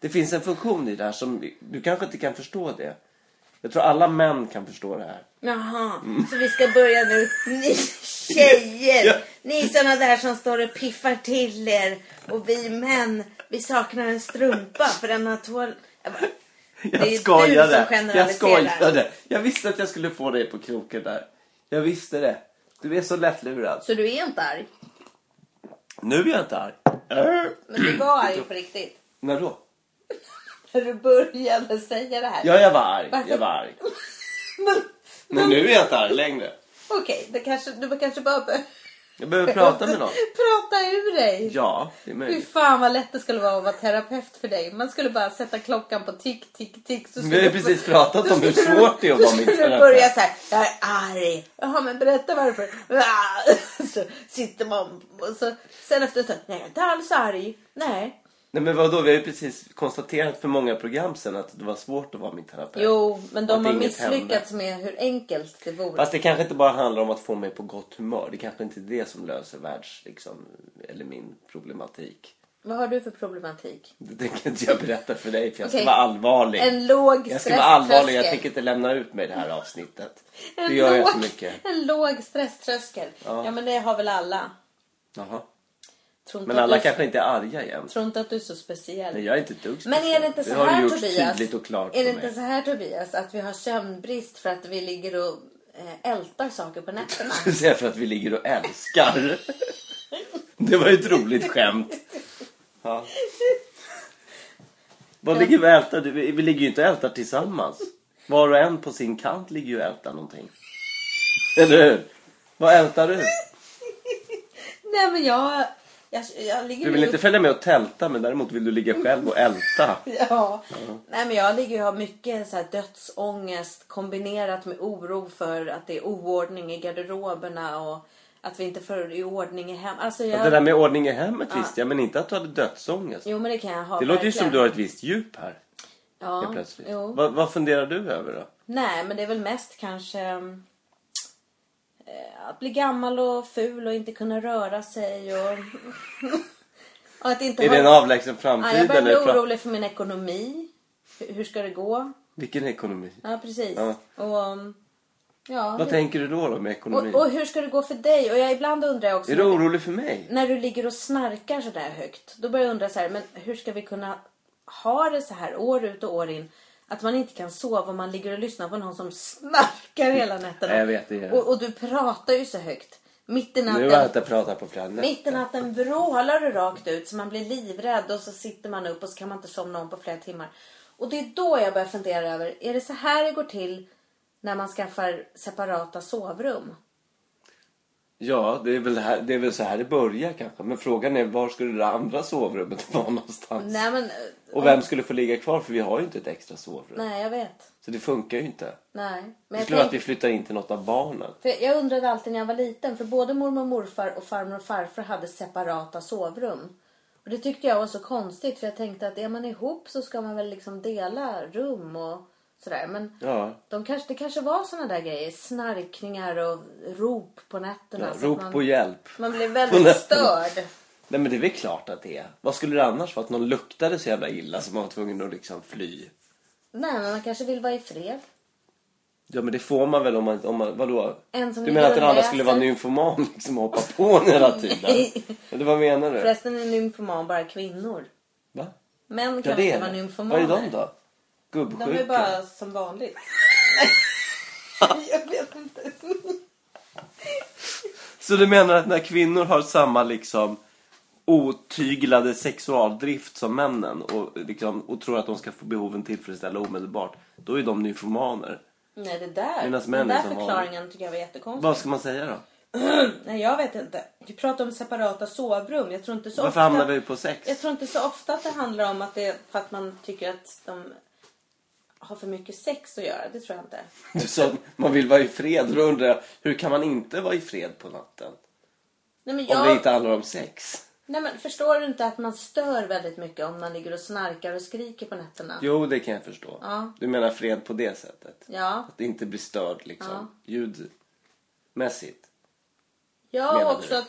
[SPEAKER 2] Det finns en funktion i det här som du kanske inte kan förstå det. Jag tror alla män kan förstå det här.
[SPEAKER 1] Jaha, så vi ska börja nu. Ni tjejer,
[SPEAKER 2] Ja.
[SPEAKER 1] ni såna där som står och piffar till er. Och vi män, vi saknar en strumpa för den har två... Jag bara,
[SPEAKER 2] Jag
[SPEAKER 1] är du
[SPEAKER 2] skojade.
[SPEAKER 1] som generaliserar.
[SPEAKER 2] Jag skojade. Jag visste att jag skulle få dig på kroken där. Jag visste det. Du är så lättlurad.
[SPEAKER 1] Så du är inte arg?
[SPEAKER 2] Nu är jag inte arg. Äh,
[SPEAKER 1] Men du var arg på riktigt?
[SPEAKER 2] När då?
[SPEAKER 1] När du började säga det här?
[SPEAKER 2] Ja, jag var arg.
[SPEAKER 1] Varför?
[SPEAKER 2] Jag var arg.
[SPEAKER 1] Men,
[SPEAKER 2] Men nu är jag inte arg längre.
[SPEAKER 1] Okej, det kanske, du kanske bara behöver...
[SPEAKER 2] Jag behöver prata med
[SPEAKER 1] (laughs)
[SPEAKER 2] någon.
[SPEAKER 1] Prata ur dig.
[SPEAKER 2] Ja, det är
[SPEAKER 1] Fy
[SPEAKER 2] möjligt.
[SPEAKER 1] fan vad lätt det skulle vara att vara terapeut för dig. Man skulle bara sätta klockan på tick, tick, tick. Så
[SPEAKER 2] Vi har ju
[SPEAKER 1] skulle-
[SPEAKER 2] precis pratat om hur svårt det är att vara min
[SPEAKER 1] Då skulle du
[SPEAKER 2] terapeut.
[SPEAKER 1] börja så här, jag är arg. Jaha, men berätta varför. (laughs) Ah, Så sitter man och så, sen efter ett tag, nej jag är inte alls arg. Nej.
[SPEAKER 2] Nej men vadå, vi har ju precis konstaterat för många program sen att det var svårt att vara min terapeut.
[SPEAKER 1] Jo, men
[SPEAKER 2] Att
[SPEAKER 1] de har
[SPEAKER 2] inget
[SPEAKER 1] misslyckats med hur enkelt det vore.
[SPEAKER 2] Fast det kanske inte bara handlar om att få mig på gott humör. Det kanske inte är det som löser världs, liksom, eller min problematik.
[SPEAKER 1] Vad har du för problematik?
[SPEAKER 2] Det tänker inte jag berätta för dig för jag ska
[SPEAKER 1] Okej.
[SPEAKER 2] vara allvarlig.
[SPEAKER 1] En låg
[SPEAKER 2] jag ska vara allvarlig, jag
[SPEAKER 1] stresströskel.
[SPEAKER 2] tänker inte lämna ut mig i det här avsnittet.
[SPEAKER 1] En
[SPEAKER 2] det gör jag
[SPEAKER 1] låg-
[SPEAKER 2] så mycket.
[SPEAKER 1] En låg stresströskel.
[SPEAKER 2] Ja.
[SPEAKER 1] Ja. men det har väl alla.
[SPEAKER 2] Jaha.
[SPEAKER 1] Tror inte
[SPEAKER 2] Men
[SPEAKER 1] att
[SPEAKER 2] alla
[SPEAKER 1] du,
[SPEAKER 2] kanske inte är arga jämt.
[SPEAKER 1] Tror inte att du är så speciell.
[SPEAKER 2] Nej, jag är inte ett dugg
[SPEAKER 1] Men är
[SPEAKER 2] speciell.
[SPEAKER 1] det inte så
[SPEAKER 2] har du
[SPEAKER 1] här
[SPEAKER 2] gjort
[SPEAKER 1] Tobias?
[SPEAKER 2] tydligt och klart
[SPEAKER 1] är det
[SPEAKER 2] för
[SPEAKER 1] inte
[SPEAKER 2] mig.
[SPEAKER 1] så här Tobias att vi har sömnbrist för att vi ligger och eh, ältar saker på
[SPEAKER 2] (laughs)
[SPEAKER 1] nätterna?
[SPEAKER 2] Du säger för att vi ligger och älskar. (laughs) Det var ju ett roligt skämt. Ja. Vad ligger vi och ältar? Du- Vi ligger ju inte och ältar tillsammans. Var och en på sin kant ligger ju och ältar någonting. Eller hur? Vad ältar du?
[SPEAKER 1] Nej men jag, jag, jag ligger
[SPEAKER 2] Du vill
[SPEAKER 1] nu-
[SPEAKER 2] inte följa med och tälta men däremot vill du ligga själv och älta.
[SPEAKER 1] (laughs) Ja. Nej men jag ligger ju och har mycket så här dödsångest kombinerat med oro för att det är oordning i garderoberna och att vi inte får i ordning i hem. Alltså jag...
[SPEAKER 2] Det där med ordning i hemmet visste jag men inte att du hade dödsångest.
[SPEAKER 1] Jo men det kan jag ha.
[SPEAKER 2] Det låter ju
[SPEAKER 1] verkligen.
[SPEAKER 2] som du har ett visst djup här.
[SPEAKER 1] ja,
[SPEAKER 2] helt Plötsligt.
[SPEAKER 1] Jo.
[SPEAKER 2] Vad, vad funderar du över då?
[SPEAKER 1] Nej, men det är väl mest kanske mm, eh, att bli gammal och ful och inte kunna röra sig och, (laughs) och att inte
[SPEAKER 2] Är
[SPEAKER 1] ha...
[SPEAKER 2] det en avlägsen
[SPEAKER 1] ja,
[SPEAKER 2] framtid?
[SPEAKER 1] jag börjar bli
[SPEAKER 2] eller? pra-
[SPEAKER 1] orolig för min ekonomi. Hur hur ska det gå?
[SPEAKER 2] Vilken ekonomi?
[SPEAKER 1] Ja, precis.
[SPEAKER 2] Ja.
[SPEAKER 1] Och, mm, ja,
[SPEAKER 2] Vad
[SPEAKER 1] hur-
[SPEAKER 2] tänker du då, då med ekonomin?
[SPEAKER 1] och, och hur ska det gå för dig? Och jag ibland undrar jag också...
[SPEAKER 2] är du orolig för mig?
[SPEAKER 1] när du ligger och snarkar så där högt, då börjar jag undra så här, men hur ska vi kunna ha det så här år ut och år in? Att man inte kan sova om man ligger och lyssnar på någon som snarkar hela nätterna.
[SPEAKER 2] Nej, jag vet, det är-
[SPEAKER 1] Och, och du pratar ju så högt. Mitt i
[SPEAKER 2] Nu har jag
[SPEAKER 1] natten,
[SPEAKER 2] inte pratat på flera
[SPEAKER 1] mitt i natten vrålar du rakt ut så man blir livrädd och så sitter man upp och så kan man inte somna om på flera timmar. Och det är då jag börjar fundera över, är det så här det går till när man skaffar separata sovrum?
[SPEAKER 2] Ja, det är, väl här, det är väl så här det börjar kanske. Men frågan är var skulle det andra sovrummet (laughs) vara någonstans?
[SPEAKER 1] Nej men,
[SPEAKER 2] Och vem skulle få ligga kvar? För vi har ju inte ett extra sovrum.
[SPEAKER 1] nej jag vet.
[SPEAKER 2] Så det funkar ju inte.
[SPEAKER 1] Nej. Men
[SPEAKER 2] Det
[SPEAKER 1] jag
[SPEAKER 2] skulle vara att
[SPEAKER 1] tänker-
[SPEAKER 2] vi flyttar in till något av barnen.
[SPEAKER 1] För jag undrade alltid när jag var liten, för både mormor och morfar och farmor och farfar hade separata sovrum. Och det tyckte jag var så konstigt, för jag tänkte att är man ihop så ska man väl liksom dela rum och sådär. Men
[SPEAKER 2] Ja.
[SPEAKER 1] de kanske, det kanske var såna där grejer, snarkningar och rop på nätterna.
[SPEAKER 2] ja
[SPEAKER 1] så att
[SPEAKER 2] rop
[SPEAKER 1] Alltså, man,
[SPEAKER 2] på hjälp.
[SPEAKER 1] man blev
[SPEAKER 2] på
[SPEAKER 1] väldigt
[SPEAKER 2] nätterna.
[SPEAKER 1] störd.
[SPEAKER 2] Nej men det är väl klart att det är. Vad skulle det annars vara? Att någon luktade så jävla illa så man var tvungen att liksom fly.
[SPEAKER 1] Nej, men man kanske vill vara i fred.
[SPEAKER 2] Ja men det får man väl om man... Om man vadå?
[SPEAKER 1] En som
[SPEAKER 2] du menar att den
[SPEAKER 1] ligger och
[SPEAKER 2] andra skulle vara
[SPEAKER 1] läser.
[SPEAKER 2] nymfoman liksom och hoppa på en hela tiden? Eller vad menar du?
[SPEAKER 1] Förresten är nymfoman bara kvinnor.
[SPEAKER 2] Va?
[SPEAKER 1] Män
[SPEAKER 2] Ja,
[SPEAKER 1] kanske
[SPEAKER 2] det
[SPEAKER 1] inte
[SPEAKER 2] är
[SPEAKER 1] var
[SPEAKER 2] det.
[SPEAKER 1] nymfomaner.
[SPEAKER 2] Vad är de då? Gubbsjuka?
[SPEAKER 1] De är bara som
[SPEAKER 2] (laughs)
[SPEAKER 1] vanligt. jag vet inte.
[SPEAKER 2] Så du menar att när kvinnor har samma liksom otyglade sexualdrift som männen och, liksom, och tror att de ska få behoven tillfredsställda omedelbart, då är de nymfomaner.
[SPEAKER 1] Nej, det där.
[SPEAKER 2] Medan
[SPEAKER 1] den
[SPEAKER 2] män
[SPEAKER 1] där
[SPEAKER 2] är som vanligt.
[SPEAKER 1] förklaringen tycker jag var jättekonstig.
[SPEAKER 2] Vad ska man säga då?
[SPEAKER 1] Nej, jag vet inte. Du pratar om separata sovrum. Jag tror inte så
[SPEAKER 2] Varför
[SPEAKER 1] ofta...
[SPEAKER 2] hamnar vi på sex?
[SPEAKER 1] Jag tror inte så ofta att det handlar om att det är för att man tycker att de har för mycket sex att göra. Det tror jag inte.
[SPEAKER 2] (laughs) Du sa man vill vara i fred. Då undrar jag, hur kan man inte vara i fred på natten?
[SPEAKER 1] Nej, men
[SPEAKER 2] Om det
[SPEAKER 1] jag...
[SPEAKER 2] inte handlar om sex.
[SPEAKER 1] Nej, men förstår du inte att man stör väldigt mycket om man ligger och snarkar och skriker på nätterna?
[SPEAKER 2] Jo, det kan jag förstå.
[SPEAKER 1] Ja.
[SPEAKER 2] Du menar fred på det sättet?
[SPEAKER 1] Ja.
[SPEAKER 2] Att inte bli störd liksom. Ljudmässigt.
[SPEAKER 1] Jag
[SPEAKER 2] Menar
[SPEAKER 1] har
[SPEAKER 2] du?
[SPEAKER 1] också att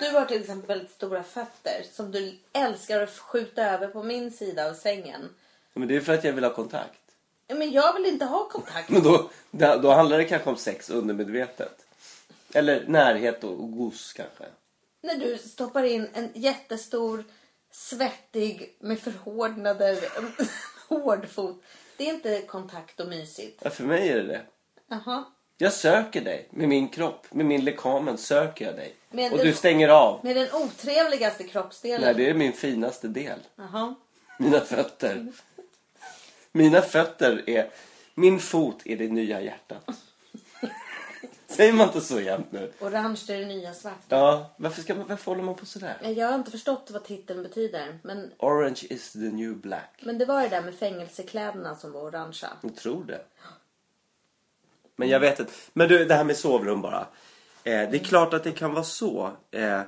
[SPEAKER 1] du har till exempel väldigt stora fötter som du älskar att skjuta över på min sida av sängen.
[SPEAKER 2] Men det är för att jag vill ha kontakt.
[SPEAKER 1] Men jag vill inte ha kontakt.
[SPEAKER 2] Men då, då då handlar det kanske om sex undermedvetet. Eller närhet och, och gos kanske.
[SPEAKER 1] När du stoppar in en jättestor, svettig med förhårdnader, (laughs) hård fot. Det är inte kontakt och mysigt.
[SPEAKER 2] Ja, för mig är det det.
[SPEAKER 1] Jaha.
[SPEAKER 2] Jag söker dig med min kropp. Med min lekamen söker jag dig.
[SPEAKER 1] Men
[SPEAKER 2] och
[SPEAKER 1] det-
[SPEAKER 2] du stänger av.
[SPEAKER 1] Med den otrevligaste kroppsdelen.
[SPEAKER 2] Nej, det är min finaste del.
[SPEAKER 1] Jaha.
[SPEAKER 2] Mina fötter. Mina fötter är... Min fot är det nya hjärtat. Säger man inte så jämt nu?
[SPEAKER 1] Orange är det nya svart.
[SPEAKER 2] Ja, varför, ska man, varför håller man på sådär?
[SPEAKER 1] Jag har inte förstått vad titeln betyder. Men,
[SPEAKER 2] Orange is the new black.
[SPEAKER 1] men det var det där med fängelsekläderna som var orangea.
[SPEAKER 2] Jag tror det. Men jag vet inte. Men du, det här med sovrum bara. Eh, det är klart att det kan vara så. Eh, a-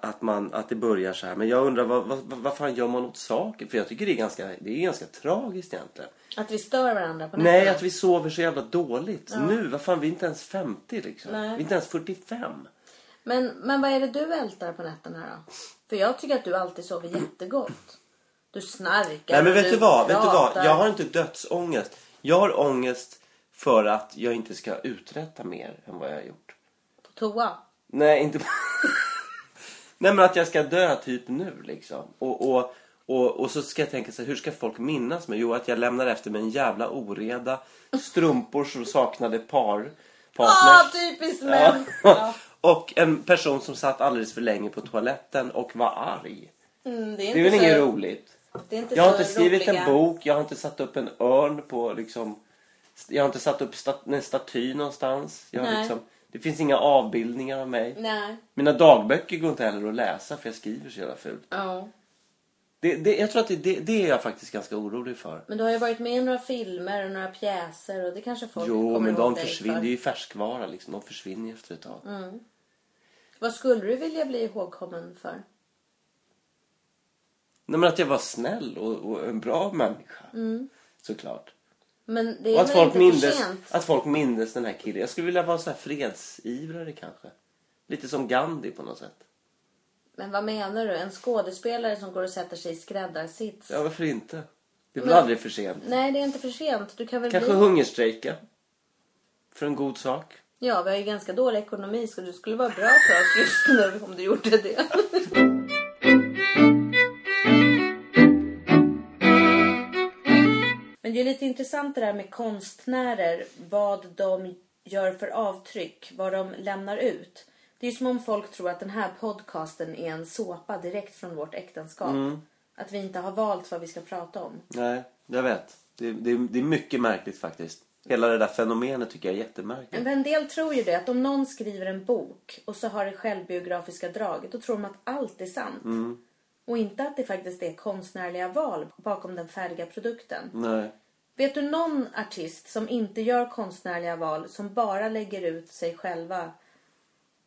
[SPEAKER 2] att, man, att det börjar så här. Men jag undrar vad, vad, vad fan gör man åt saken? För jag tycker det är ganska, det är ganska tragiskt egentligen.
[SPEAKER 1] Att vi stör varandra på
[SPEAKER 2] Nej,
[SPEAKER 1] nätterna.
[SPEAKER 2] att vi sover så jävla dåligt. Nu, vad fan, vi är inte ens 50 liksom.
[SPEAKER 1] Nej.
[SPEAKER 2] Vi är inte ens 45.
[SPEAKER 1] Men, men vad är det du ältar på nätterna då? För jag tycker att du alltid sover jättegott. Du snarkar
[SPEAKER 2] Nej men
[SPEAKER 1] och
[SPEAKER 2] vet du vad? Vet du
[SPEAKER 1] pratar.
[SPEAKER 2] vad? Jag har inte dödsångest. Jag har ångest för att jag inte ska uträtta mer än vad jag har gjort.
[SPEAKER 1] På toa.
[SPEAKER 2] Nej, inte... (laughs) Nej, men att jag ska dö typ nu liksom. Och, och, och, och så ska jag tänka så här, hur ska folk minnas mig? Jo, att jag lämnar efter mig en jävla oreda, strumpor som saknade par,
[SPEAKER 1] Ah,
[SPEAKER 2] partners.
[SPEAKER 1] typiskt
[SPEAKER 2] (laughs)
[SPEAKER 1] män! Ja.
[SPEAKER 2] och en person som satt alldeles för länge på toaletten och var arg.
[SPEAKER 1] Mm, det är
[SPEAKER 2] Det är väl
[SPEAKER 1] inte
[SPEAKER 2] inget
[SPEAKER 1] så...
[SPEAKER 2] roligt?
[SPEAKER 1] Det är inte
[SPEAKER 2] Jag har
[SPEAKER 1] så
[SPEAKER 2] inte skrivit
[SPEAKER 1] roliga.
[SPEAKER 2] en bok, jag har inte satt upp en örn på liksom... Jag har inte satt upp stat- en staty någonstans. Jag har
[SPEAKER 1] Nej.
[SPEAKER 2] liksom, det finns inga avbildningar av mig.
[SPEAKER 1] Nej.
[SPEAKER 2] Mina dagböcker går inte heller att läsa för jag skriver så jävla fult.
[SPEAKER 1] Ja.
[SPEAKER 2] Det, det, jag tror att det, det, det är jag faktiskt ganska orolig för.
[SPEAKER 1] Men du har ju varit med i några filmer och några pjäser och det kanske folk
[SPEAKER 2] Jo,
[SPEAKER 1] kommer
[SPEAKER 2] men
[SPEAKER 1] ihåg
[SPEAKER 2] de
[SPEAKER 1] dig
[SPEAKER 2] försvinner.
[SPEAKER 1] för.
[SPEAKER 2] Det är ju färskvara liksom. De försvinner efter ett tag.
[SPEAKER 1] Mm. Vad skulle du vilja bli ihågkommen för?
[SPEAKER 2] Nej, men att jag var snäll och, och en bra människa. Såklart.
[SPEAKER 1] Men Mm. det är
[SPEAKER 2] Och att
[SPEAKER 1] väl
[SPEAKER 2] folk,
[SPEAKER 1] inte för
[SPEAKER 2] mindes,
[SPEAKER 1] sent?
[SPEAKER 2] att folk mindes den här killen. Jag skulle vilja vara så här fredsivrare kanske. Lite som Gandhi på något sätt.
[SPEAKER 1] Men vad menar du? En skådespelare som går och sätter sig i skräddarsits?
[SPEAKER 2] Ja, varför inte? Det är väl
[SPEAKER 1] Men-
[SPEAKER 2] aldrig för sent.
[SPEAKER 1] Nej, det är inte för sent. Du kan väl
[SPEAKER 2] Kanske
[SPEAKER 1] bli...
[SPEAKER 2] hungerstrejka. För en god sak.
[SPEAKER 1] Ja, vi har ju ganska dålig ekonomi så du skulle vara bra för oss just nu om du gjorde det. Men det är lite intressant det där med konstnärer, vad de gör för avtryck, vad de lämnar ut. Det är ju som om folk tror att den här podcasten är en såpa direkt från vårt äktenskap. Att vi inte har valt vad vi ska prata om.
[SPEAKER 2] Nej, jag vet. Det, det, det är mycket märkligt faktiskt. Hela det där fenomenet tycker jag är jättemärkligt.
[SPEAKER 1] Men en del tror ju det, att om någon skriver en bok och så har det självbiografiska draget, då tror de att allt är sant.
[SPEAKER 2] Mm.
[SPEAKER 1] Och inte att det faktiskt är konstnärliga val bakom den färdiga produkten.
[SPEAKER 2] Nej.
[SPEAKER 1] Vet du någon artist som inte gör konstnärliga val, som bara lägger ut sig själva?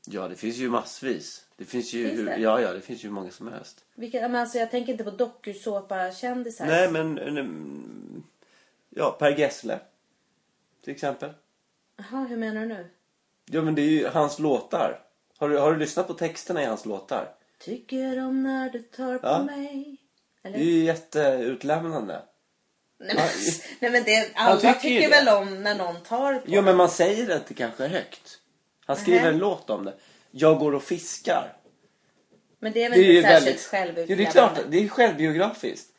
[SPEAKER 2] Ja, det finns ju massvis. Det finns ju,
[SPEAKER 1] Finns
[SPEAKER 2] hur,
[SPEAKER 1] det?
[SPEAKER 2] Ja, ja, det finns ju hur många som helst.
[SPEAKER 1] Vilka, men alltså jag tänker inte på dokusåpa-kändisar.
[SPEAKER 2] Nej, men... mm, Ja, Per Gessle. Till exempel.
[SPEAKER 1] Jaha, hur menar du nu?
[SPEAKER 2] Ja, men det är ju hans låtar. Har du, har du lyssnat på texterna i hans låtar?
[SPEAKER 1] Tycker om när du tar på
[SPEAKER 2] Ja.
[SPEAKER 1] mig. Eller?
[SPEAKER 2] Det är ju jätteutlämnande.
[SPEAKER 1] Nej, men, (laughs) nej men det,
[SPEAKER 2] Han
[SPEAKER 1] alla
[SPEAKER 2] tycker
[SPEAKER 1] tycker,
[SPEAKER 2] ju det.
[SPEAKER 1] väl om när någon tar på
[SPEAKER 2] Jo, men man säger det inte kanske högt. Han skriver
[SPEAKER 1] Mhm.
[SPEAKER 2] en låt om det. Jag går och fiskar.
[SPEAKER 1] Men det är
[SPEAKER 2] Det
[SPEAKER 1] väl
[SPEAKER 2] är ju
[SPEAKER 1] inte särskilt
[SPEAKER 2] väldigt...
[SPEAKER 1] självutlämnande?
[SPEAKER 2] Jo, det är klart. Det är självbiografiskt.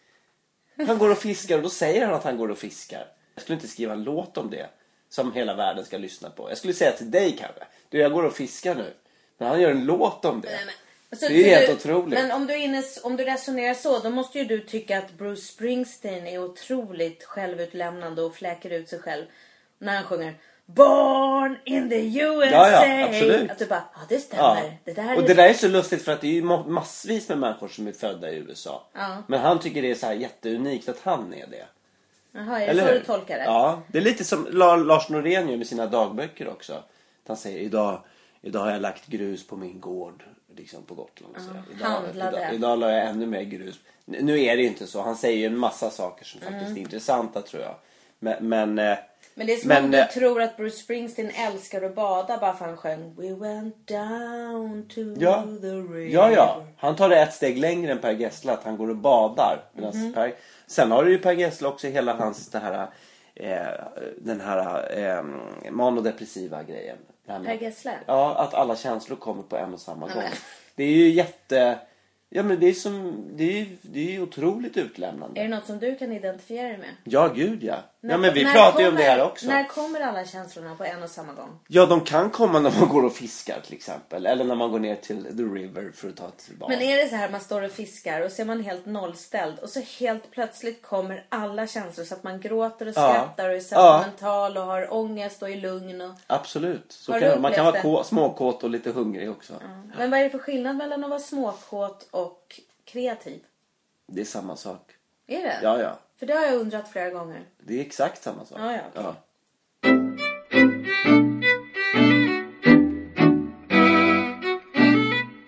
[SPEAKER 2] Han går och fiskar och då säger han att han går och fiskar. Jag skulle inte skriva en låt om det som hela världen ska lyssna på. Jag skulle säga till dig kanske. Du, jag går och fiskar nu. Men han gör en låt om det.
[SPEAKER 1] Nej, men- Alltså,
[SPEAKER 2] Det är ju
[SPEAKER 1] för
[SPEAKER 2] helt
[SPEAKER 1] du,
[SPEAKER 2] otroligt.
[SPEAKER 1] Men om du, är inne, om du resonerar så, då måste ju du tycka att Bruce Springsteen är otroligt självutlämnande och fläker ut sig själv. När han sjunger Born in the USA.
[SPEAKER 2] Ja, ja, absolut.
[SPEAKER 1] Att du bara, ja det
[SPEAKER 2] Ja.
[SPEAKER 1] stämmer. Det där
[SPEAKER 2] och
[SPEAKER 1] är...
[SPEAKER 2] det där är så lustigt för att det är ju ma- massvis med människor som är födda i USA.
[SPEAKER 1] Ja.
[SPEAKER 2] Men han tycker det är så här jätteunikt att han är det.
[SPEAKER 1] Jaha, är det så
[SPEAKER 2] hur?
[SPEAKER 1] du tolkar det?
[SPEAKER 2] Ja, det är lite som La- Lars Norén gör med sina dagböcker också. Att Han säger idag, idag har jag lagt grus på min gård liksom på Gotland. och så där. idag,
[SPEAKER 1] handlade.
[SPEAKER 2] idag, idag la jag ännu mer grus. N- Nu är det ju inte så. Han säger ju en massa saker som
[SPEAKER 1] Mm.
[SPEAKER 2] faktiskt är intressanta tror jag. Men, men eh,
[SPEAKER 1] Men det är som
[SPEAKER 2] Men,
[SPEAKER 1] om du
[SPEAKER 2] eh,
[SPEAKER 1] tror att Bruce Springsteen älskar att bada bara för han sjöng We went down to
[SPEAKER 2] Ja.
[SPEAKER 1] the river.
[SPEAKER 2] Ja, ja. Han tar det ett steg längre än Per Gessle, att han går och badar. Medan
[SPEAKER 1] Mhm.
[SPEAKER 2] per... Sen har du ju Per Gessle också hela hans det här, eh, den här eh, manodepressiva grejen. Det här med-
[SPEAKER 1] Per Gessle?
[SPEAKER 2] Ja, att alla känslor kommer på en och samma gång.
[SPEAKER 1] men.
[SPEAKER 2] Det är ju jätte... Ja, men det är som... Det är ju det är ju otroligt utlämnande.
[SPEAKER 1] Är det något som du kan identifiera dig med?
[SPEAKER 2] Ja, gud ja. ja,
[SPEAKER 1] När-
[SPEAKER 2] men vi
[SPEAKER 1] när
[SPEAKER 2] pratar ju om det
[SPEAKER 1] kommer-
[SPEAKER 2] här också.
[SPEAKER 1] När kommer alla känslorna på en och samma gång?
[SPEAKER 2] Ja, de kan komma när man går och fiskar till exempel. Eller när man går ner till the river för att ta ett bad.
[SPEAKER 1] Men är det så här man står och fiskar och så är man helt nollställd och så helt plötsligt kommer alla känslor så att man gråter och
[SPEAKER 2] Ja.
[SPEAKER 1] skrattar och är
[SPEAKER 2] Ja.
[SPEAKER 1] sentimental och har ångest och är lugn och...
[SPEAKER 2] Absolut. Så
[SPEAKER 1] Har
[SPEAKER 2] kan,
[SPEAKER 1] du
[SPEAKER 2] det- man kan
[SPEAKER 1] upplevt
[SPEAKER 2] vara
[SPEAKER 1] det?
[SPEAKER 2] kå, småkåt och lite hungrig också.
[SPEAKER 1] Men vad är det för skillnad mellan att vara småkåt och kreativ?
[SPEAKER 2] Det är samma sak.
[SPEAKER 1] Är det?
[SPEAKER 2] Ja, ja.
[SPEAKER 1] För det har jag undrat flera gånger.
[SPEAKER 2] Det är exakt samma sak.
[SPEAKER 1] Ja, ja, okej.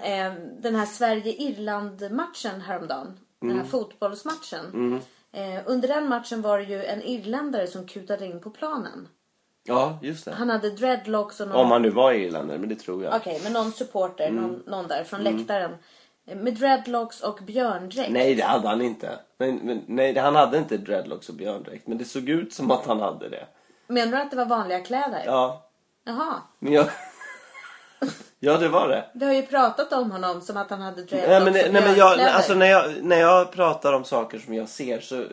[SPEAKER 1] eh, den här Sverige-Irland-matchen häromdagen. Den här
[SPEAKER 2] Mm.
[SPEAKER 1] fotbollsmatchen. Eh, under den matchen var det ju en irländare som kutade in på planen.
[SPEAKER 2] ja just det.
[SPEAKER 1] Han hade dreadlocks och någon...
[SPEAKER 2] Om han nu var irländare, men det tror jag.
[SPEAKER 1] Okej, men någon supporter,
[SPEAKER 2] Mm.
[SPEAKER 1] någon, någon där från läktaren. Eh, Med dreadlocks och björndräkt.
[SPEAKER 2] Nej, det hade han inte. Men, men, nej, det- han hade inte dreadlocks och björndräkt. Men det såg ut som att han hade det.
[SPEAKER 1] Menar du att det var vanliga kläder?
[SPEAKER 2] Ja,
[SPEAKER 1] Jaha.
[SPEAKER 2] men jag... (laughs) ja, det var det.
[SPEAKER 1] Vi har ju pratat om honom som att han hade dreadlocks
[SPEAKER 2] Nej, men,
[SPEAKER 1] och
[SPEAKER 2] nej, men jag,
[SPEAKER 1] björnkläder.
[SPEAKER 2] alltså, när, jag, när jag pratar om saker som jag ser så,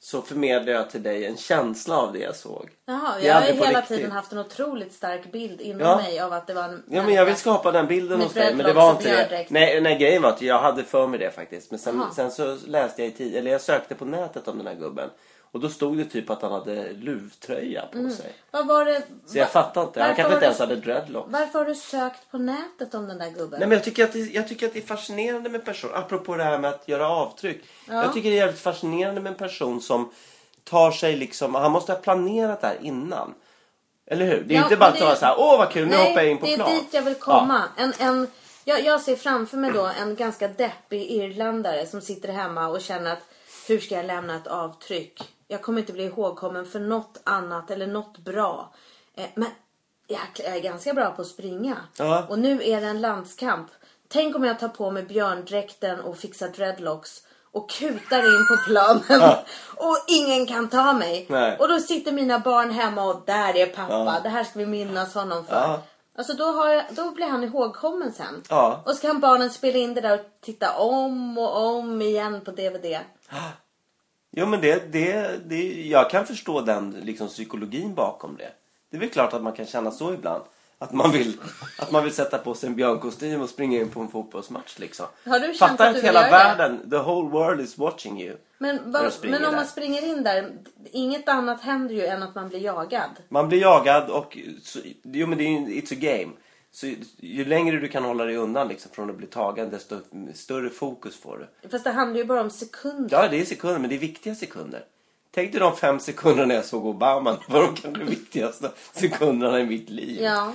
[SPEAKER 2] så förmedlar jag till dig en känsla av det jag såg.
[SPEAKER 1] Jaha,
[SPEAKER 2] Det är
[SPEAKER 1] jag har ju
[SPEAKER 2] aldrig på
[SPEAKER 1] hela
[SPEAKER 2] riktigt.
[SPEAKER 1] tiden haft en otroligt stark bild inom
[SPEAKER 2] Ja.
[SPEAKER 1] mig av att det var en
[SPEAKER 2] Ja, men
[SPEAKER 1] människa.
[SPEAKER 2] jag vill skapa den bilden
[SPEAKER 1] Med
[SPEAKER 2] hos dig, men det
[SPEAKER 1] dreadlocks
[SPEAKER 2] var
[SPEAKER 1] och
[SPEAKER 2] inte det.
[SPEAKER 1] björndräkt.
[SPEAKER 2] Nej, nej, grejen var att jag hade för mig det faktiskt. Men sen,
[SPEAKER 1] Aha.
[SPEAKER 2] sen så läste jag i tid, eller jag sökte på nätet om den här gubben. Och då stod det typ att han hade luvtröja på sig.
[SPEAKER 1] Vad var det?
[SPEAKER 2] Så jag
[SPEAKER 1] Mm. va-
[SPEAKER 2] fattar inte. Han
[SPEAKER 1] varför
[SPEAKER 2] kanske
[SPEAKER 1] har
[SPEAKER 2] inte
[SPEAKER 1] du-
[SPEAKER 2] ens hade dreadlocks.
[SPEAKER 1] Varför har du sökt på nätet om den där gubben?
[SPEAKER 2] Nej, men jag, tycker att det, jag tycker att det är fascinerande med person, apropå det här med att göra avtryck. Jag tycker det är jävligt fascinerande med en person som tar sig liksom, han måste ha planerat det här innan. Eller hur? Det är
[SPEAKER 1] Ja,
[SPEAKER 2] inte bara
[SPEAKER 1] men
[SPEAKER 2] att
[SPEAKER 1] det-
[SPEAKER 2] vara så här, åh vad kul, nu
[SPEAKER 1] Nej,
[SPEAKER 2] hoppar jag in på
[SPEAKER 1] det är
[SPEAKER 2] plan.
[SPEAKER 1] dit jag vill komma. En, en, jag, jag ser framför mig då en ganska deppig irländare som sitter hemma och känner att hur ska jag lämna ett avtryck? Jag kommer inte bli ihågkommen för något annat eller något bra. Eh, men jäklar, jag är ganska bra på att springa.
[SPEAKER 2] Ja.
[SPEAKER 1] Och nu är det en landskamp. Tänk om jag tar på mig björndräkten och fixar dreadlocks och kutar in på planen (laughs) och ingen kan ta mig.
[SPEAKER 2] Nej.
[SPEAKER 1] Och då sitter mina barn hemma och där är pappa. Det här ska vi minnas honom för.
[SPEAKER 2] Ja.
[SPEAKER 1] Alltså då, har jag, då blir han ihågkommen sen.
[SPEAKER 2] Ja.
[SPEAKER 1] Och så kan barnen spela in det där och titta om och om igen på DVD.
[SPEAKER 2] Jo men det, det, det, jag kan förstå den liksom, psykologin bakom det. Det är väl klart att man kan känna så ibland. Att man vill, att man vill sätta på sig en björnkostym och springa in på en fotbollsmatch liksom.
[SPEAKER 1] Har du känt
[SPEAKER 2] Fattar
[SPEAKER 1] att du vill
[SPEAKER 2] hela
[SPEAKER 1] göra det?
[SPEAKER 2] världen, the whole world is watching you.
[SPEAKER 1] Men,
[SPEAKER 2] Jag
[SPEAKER 1] vad,
[SPEAKER 2] springer
[SPEAKER 1] men om
[SPEAKER 2] där.
[SPEAKER 1] man springer in där, inget annat händer ju än att man blir jagad.
[SPEAKER 2] Man blir jagad och så, jo men det är ju it's a game. Så ju längre du kan hålla dig undan liksom, från att bli tagen desto större fokus får du.
[SPEAKER 1] Fast det handlar ju bara om sekunder.
[SPEAKER 2] Ja det är sekunder men det är viktiga sekunder. Tänk dig de fem sekunderna jag såg Obama. (laughs) Det var de kanske viktigaste sekunderna i mitt liv.
[SPEAKER 1] Ja.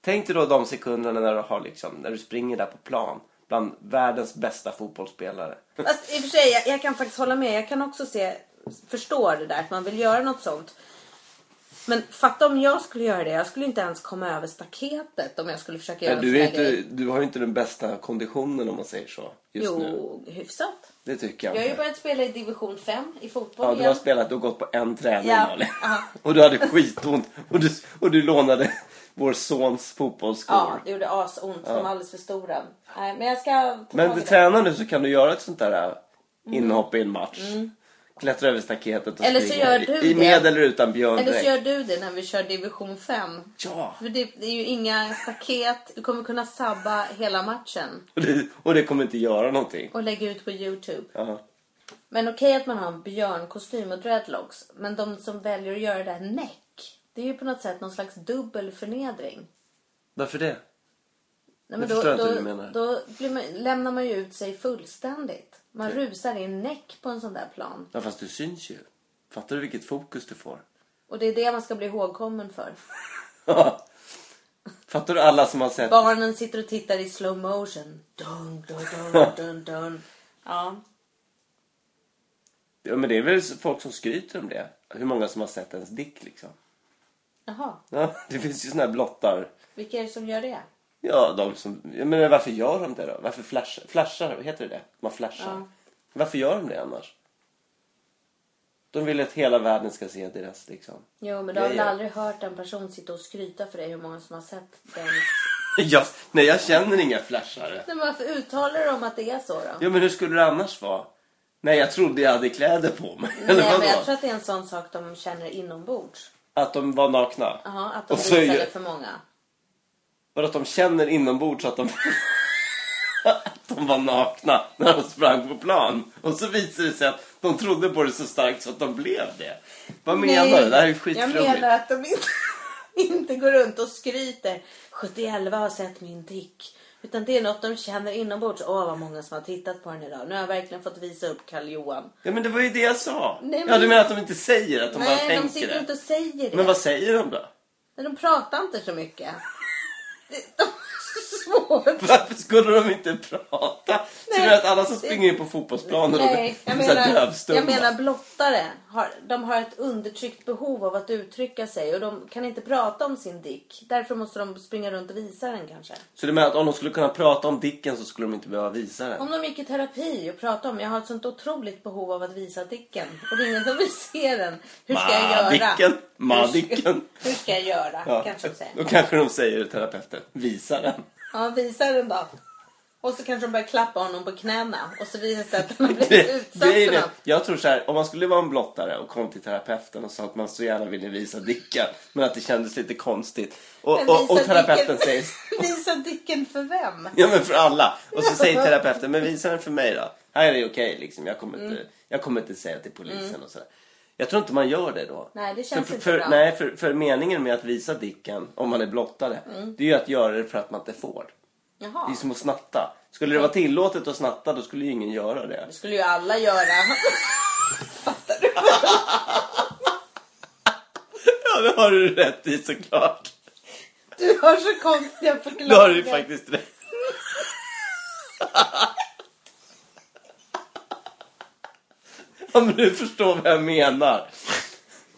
[SPEAKER 2] Tänk dig då de sekunderna när du, har liksom, när du springer där på plan bland världens bästa fotbollsspelare.
[SPEAKER 1] Fast i och för sig, jag, jag kan faktiskt hålla med. Jag kan också se, förstå det där att man vill göra något sånt. Men fatta om jag skulle göra det. Jag skulle inte ens komma över staketet om jag skulle försöka göra
[SPEAKER 2] Men
[SPEAKER 1] en
[SPEAKER 2] du,
[SPEAKER 1] sån
[SPEAKER 2] är
[SPEAKER 1] här
[SPEAKER 2] inte,
[SPEAKER 1] grej.
[SPEAKER 2] du har ju inte den bästa konditionen om man säger så. Just nu.
[SPEAKER 1] Jo, hyfsat.
[SPEAKER 2] Det tycker jag.
[SPEAKER 1] Jag har ju
[SPEAKER 2] inte.
[SPEAKER 1] börjat spela i division 5 i fotboll
[SPEAKER 2] Ja, du har
[SPEAKER 1] igen.
[SPEAKER 2] spelat och gått på en träning
[SPEAKER 1] Ja,
[SPEAKER 2] Malin.
[SPEAKER 1] ja.
[SPEAKER 2] Och du hade skitont och du, och du lånade vår sons fotbollsskor.
[SPEAKER 1] Ja, det gjorde asont. De var alldeles för stora. Nej, men jag ska ta tag i
[SPEAKER 2] Men du
[SPEAKER 1] det. Mm.
[SPEAKER 2] tränar nu så kan du göra ett sånt där äh, inhopp i en match. Klättra över staketet och
[SPEAKER 1] Eller så
[SPEAKER 2] springa.
[SPEAKER 1] gör du
[SPEAKER 2] I
[SPEAKER 1] det.
[SPEAKER 2] med eller utan björndräkt.
[SPEAKER 1] Eller så gör du det när vi kör division 5.
[SPEAKER 2] Ja,
[SPEAKER 1] För det, det är ju inga staket. Du kommer kunna sabba hela matchen.
[SPEAKER 2] och det, och det kommer inte göra någonting.
[SPEAKER 1] Och lägga ut på Youtube.
[SPEAKER 2] Ja.
[SPEAKER 1] Men okej att man har en björnkostym och dreadlocks. Men de som väljer att göra det här näck. Det är ju på något sätt någon slags dubbel förnedring.
[SPEAKER 2] Varför det?
[SPEAKER 1] Nej,
[SPEAKER 2] Jag
[SPEAKER 1] men då,
[SPEAKER 2] förstår inte
[SPEAKER 1] då,
[SPEAKER 2] hur du menar.
[SPEAKER 1] Då blir man, lämnar man ju ut sig fullständigt. Man rusar in näck på en sån där plan.
[SPEAKER 2] Ja, fast du syns ju. Fattar du vilket fokus du får?
[SPEAKER 1] Och det är det man ska bli ihågkommen för.
[SPEAKER 2] Fattar du alla som har sett?
[SPEAKER 1] Barnen sitter och tittar i slow motion. Dun, dun, dun, dun, dun. Ja.
[SPEAKER 2] Ja, men det är väl folk som skryter om det. Hur många som har sett ens dick liksom.
[SPEAKER 1] Jaha,
[SPEAKER 2] Ja, det finns ju såna här blottar.
[SPEAKER 1] vilka är det som gör det?
[SPEAKER 2] Ja, de som... Ja, men varför gör de det då? Varför flashar... Flashar, heter det det? Man flashar.
[SPEAKER 1] Ja.
[SPEAKER 2] Varför gör de det annars? De vill att hela världen ska se deras liksom...
[SPEAKER 1] Jo, men du har väl
[SPEAKER 2] grejer.
[SPEAKER 1] aldrig hört en person sitta och skryta för dig hur många som har sett den?
[SPEAKER 2] Jag, nej, jag känner inga flashare.
[SPEAKER 1] (laughs) Men varför uttalar de att det är så då?
[SPEAKER 2] Ja, men hur skulle det annars vara? Nej, jag trodde jag hade kläder på mig. (laughs) Eller
[SPEAKER 1] Nej,
[SPEAKER 2] vadå?
[SPEAKER 1] men jag tror att det är en sån sak de känner inombords.
[SPEAKER 2] Att de var nakna?
[SPEAKER 1] Jaha, att de
[SPEAKER 2] Och så är
[SPEAKER 1] visar
[SPEAKER 2] ju-
[SPEAKER 1] det för många.
[SPEAKER 2] Vadå, att de känner inombords att de... att de var nakna när de sprang på plan. Och så visade det sig att de trodde på det så starkt så att de blev det. Vad menar du? Det här är ju
[SPEAKER 1] Jag
[SPEAKER 2] skitflummigt.
[SPEAKER 1] menar att de inte, inte (laughs) går runt och skryter. 71 har sett min dick. Utan det är något de känner inombords. Åh, vad många som har tittat på den idag. Nu har jag verkligen fått visa upp Karl-Johan.
[SPEAKER 2] Ja, men det var ju det jag sa.
[SPEAKER 1] Nej,
[SPEAKER 2] Ja,
[SPEAKER 1] men-
[SPEAKER 2] du menar att de inte säger att de bara
[SPEAKER 1] Nej, de
[SPEAKER 2] tänker
[SPEAKER 1] sitter
[SPEAKER 2] det.
[SPEAKER 1] inte och säger det.
[SPEAKER 2] Men vad säger de då?
[SPEAKER 1] Nej, De pratar inte så mycket. (laughs) Det- De har så svårt.
[SPEAKER 2] Varför skulle de inte prata? Så
[SPEAKER 1] Nej.
[SPEAKER 2] du menar att alla som springer in på fotbollsplanen
[SPEAKER 1] Nej,
[SPEAKER 2] och
[SPEAKER 1] jag
[SPEAKER 2] så här
[SPEAKER 1] menar,
[SPEAKER 2] dövstumma?
[SPEAKER 1] jag menar blottare. Har, de har ett undertryckt behov av att uttrycka sig och de kan inte prata om sin dick. Därför måste de springa runt och visa den kanske.
[SPEAKER 2] Så du menar att om de skulle kunna prata om Dicken så skulle de inte behöva visa den?
[SPEAKER 1] Om de gick i terapi och pratade om jag har ett sånt otroligt behov av att visa dicken och det är ingen som vill se den. Hur ska jag göra?
[SPEAKER 2] Madicken,
[SPEAKER 1] Hur ska,
[SPEAKER 2] Madicken.
[SPEAKER 1] hur ska jag göra? Kanske de
[SPEAKER 2] Då
[SPEAKER 1] säger.
[SPEAKER 2] kanske de säger terapeuten, visa den.
[SPEAKER 1] Ja, visa den då. Och så kanske de börjar klappa honom på knäna och så visar det sig att han har blivit utsatt
[SPEAKER 2] det är
[SPEAKER 1] för
[SPEAKER 2] det.
[SPEAKER 1] något.
[SPEAKER 2] Jag tror så här, om man skulle vara en blottare och kom till terapeuten och sa att man så gärna ville visa Dicken men att det kändes lite konstigt. Och,
[SPEAKER 1] Men
[SPEAKER 2] och, och
[SPEAKER 1] visa
[SPEAKER 2] terapeuten
[SPEAKER 1] dicken-
[SPEAKER 2] säger,
[SPEAKER 1] (laughs) visa dicken för vem?
[SPEAKER 2] ja men för alla. Och så
[SPEAKER 1] (laughs)
[SPEAKER 2] säger terapeuten, men visa den för mig då. Här är det okej liksom, jag kommer,
[SPEAKER 1] Mm.
[SPEAKER 2] inte, jag kommer inte säga till polisen och sådär. Jag tror inte man gör det då.
[SPEAKER 1] Nej, det känns
[SPEAKER 2] för,
[SPEAKER 1] inte
[SPEAKER 2] för,
[SPEAKER 1] bra.
[SPEAKER 2] Nej, för, för meningen med att visa Dicken, om man är blottare,
[SPEAKER 1] Mm.
[SPEAKER 2] det är ju att göra det för att man inte får. Det är
[SPEAKER 1] Jaha.
[SPEAKER 2] som att snatta. Skulle det vara tillåtet att snatta då skulle ju ingen göra det.
[SPEAKER 1] Det skulle ju alla göra. (laughs)
[SPEAKER 2] Ja, det har du rätt i såklart.
[SPEAKER 1] Du har så konstiga
[SPEAKER 2] Det har du
[SPEAKER 1] förklaringar.
[SPEAKER 2] ju faktiskt rätt Ja, men du förstår vad jag menar.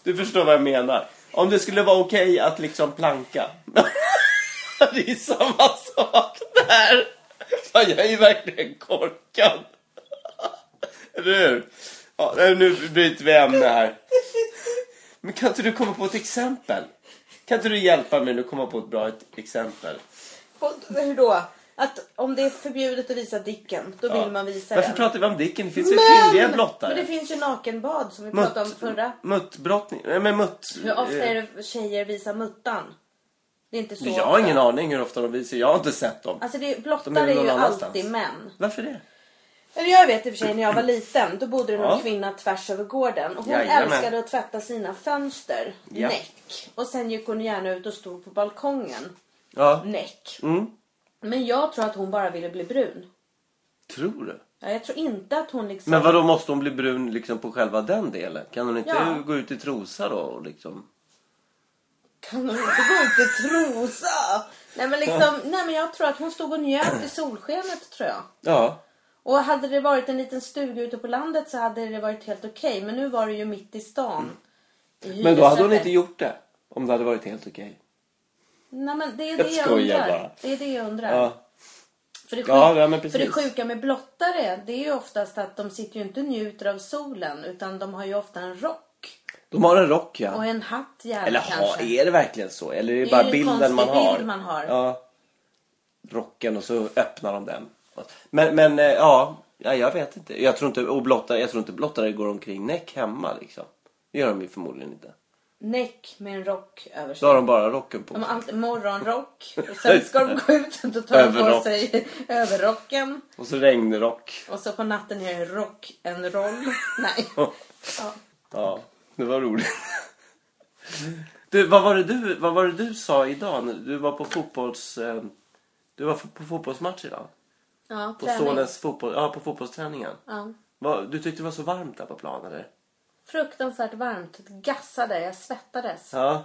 [SPEAKER 2] Du förstår vad jag menar. Om det skulle vara okej att liksom planka. (laughs) Det är samma sak där. Fan, jag är ju verkligen korkad. Eller hur? Ja, nej, nu byter vi ämne här. Men kan inte du komma på ett exempel? Kan inte du hjälpa mig nu att komma på ett bra ett exempel?
[SPEAKER 1] Och Hur då? Att om det är förbjudet att visa dicken, då vill
[SPEAKER 2] Ja.
[SPEAKER 1] man visa
[SPEAKER 2] Varför
[SPEAKER 1] den.
[SPEAKER 2] pratar vi om Dicken? Det finns ju kvinnliga blottare.
[SPEAKER 1] men det finns ju nakenbad som vi
[SPEAKER 2] Mutt-
[SPEAKER 1] pratade om förra.
[SPEAKER 2] Muttbrottning? Nej men mutt...
[SPEAKER 1] Hur ofta
[SPEAKER 2] eh,
[SPEAKER 1] är det tjejer visar muttan? Det är inte så
[SPEAKER 2] Jag har ingen
[SPEAKER 1] ofta.
[SPEAKER 2] aning hur ofta de visar. Jag har inte sett dem.
[SPEAKER 1] Alltså det,
[SPEAKER 2] De är
[SPEAKER 1] blottare
[SPEAKER 2] väl
[SPEAKER 1] är ju
[SPEAKER 2] någon annanstans.
[SPEAKER 1] alltid män.
[SPEAKER 2] Varför det?
[SPEAKER 1] Eller jag vet i och för sig när jag var liten, då bodde det någon
[SPEAKER 2] Ja.
[SPEAKER 1] kvinna tvärs över gården. Och hon
[SPEAKER 2] Jajamän.
[SPEAKER 1] älskade att tvätta sina fönster,
[SPEAKER 2] Ja.
[SPEAKER 1] näck. Och sen gick hon gärna ut och stod på balkongen,
[SPEAKER 2] Ja.
[SPEAKER 1] näck.
[SPEAKER 2] Mm.
[SPEAKER 1] Men jag tror att hon bara ville bli brun.
[SPEAKER 2] Tror du?
[SPEAKER 1] Ja, jag tror inte att hon liksom...
[SPEAKER 2] Men vadå, måste hon bli brun liksom på själva den delen? Kan hon inte
[SPEAKER 1] Ja.
[SPEAKER 2] gå ut i trosa då? Och liksom?
[SPEAKER 1] Kan hon inte gå ut i trosa? Nej men, liksom, nej men jag tror att hon stod och njöt i solskenet tror jag.
[SPEAKER 2] Ja.
[SPEAKER 1] Och hade det varit en liten stuga ute på landet så hade det varit helt okej. Men nu var det ju mitt i stan. I
[SPEAKER 2] Men då hade hon
[SPEAKER 1] hyresrätter.
[SPEAKER 2] inte gjort det. Om det hade varit helt okej.
[SPEAKER 1] Nej men det är det jag,
[SPEAKER 2] skojar
[SPEAKER 1] undrar.
[SPEAKER 2] bara.
[SPEAKER 1] Det är det jag undrar.
[SPEAKER 2] Ja.
[SPEAKER 1] För, det sjuka,
[SPEAKER 2] Ja, ja, men
[SPEAKER 1] för det
[SPEAKER 2] precis.
[SPEAKER 1] sjuka med blottare det är ju oftast att de sitter ju inte och njuter av solen. Utan de har ju ofta en rock.
[SPEAKER 2] De har en rock ja.
[SPEAKER 1] Och en hatt gärna
[SPEAKER 2] Eller ha,
[SPEAKER 1] kanske.
[SPEAKER 2] är det verkligen så? Eller är det,
[SPEAKER 1] Det är
[SPEAKER 2] bara
[SPEAKER 1] ju en
[SPEAKER 2] bilden
[SPEAKER 1] konstig
[SPEAKER 2] man har?
[SPEAKER 1] bild man har.
[SPEAKER 2] Ja. Rocken och så öppnar de den. Men, men eh, ja, ja, jag vet inte. Jag tror inte, och blottare, jag tror inte blottare går omkring näck hemma liksom. Det gör de ju förmodligen inte.
[SPEAKER 1] Näck med en rock över sig.
[SPEAKER 2] Då har de bara rocken på
[SPEAKER 1] De har
[SPEAKER 2] sig.
[SPEAKER 1] alltid morgonrock. Och sen ska de gå ut och då tar de på
[SPEAKER 2] Överrock.
[SPEAKER 1] sig överrocken.
[SPEAKER 2] Och så regnrock.
[SPEAKER 1] Och så på natten är det rock en
[SPEAKER 2] (laughs)
[SPEAKER 1] roll. Nej. Ja.
[SPEAKER 2] Ja, det var roligt. Du, vad var det du, vad var det du sa idag? när Du var på fotbolls... eh, Du var på fotbollsmatch idag?
[SPEAKER 1] Ja,
[SPEAKER 2] På
[SPEAKER 1] träning.
[SPEAKER 2] Solens fotboll... Ja, på fotbollsträningen.
[SPEAKER 1] Ja.
[SPEAKER 2] Vad- Du tyckte det var så varmt där på plan, eller?
[SPEAKER 1] Fruktansvärt varmt. Gassade. Jag svettades.
[SPEAKER 2] Ja.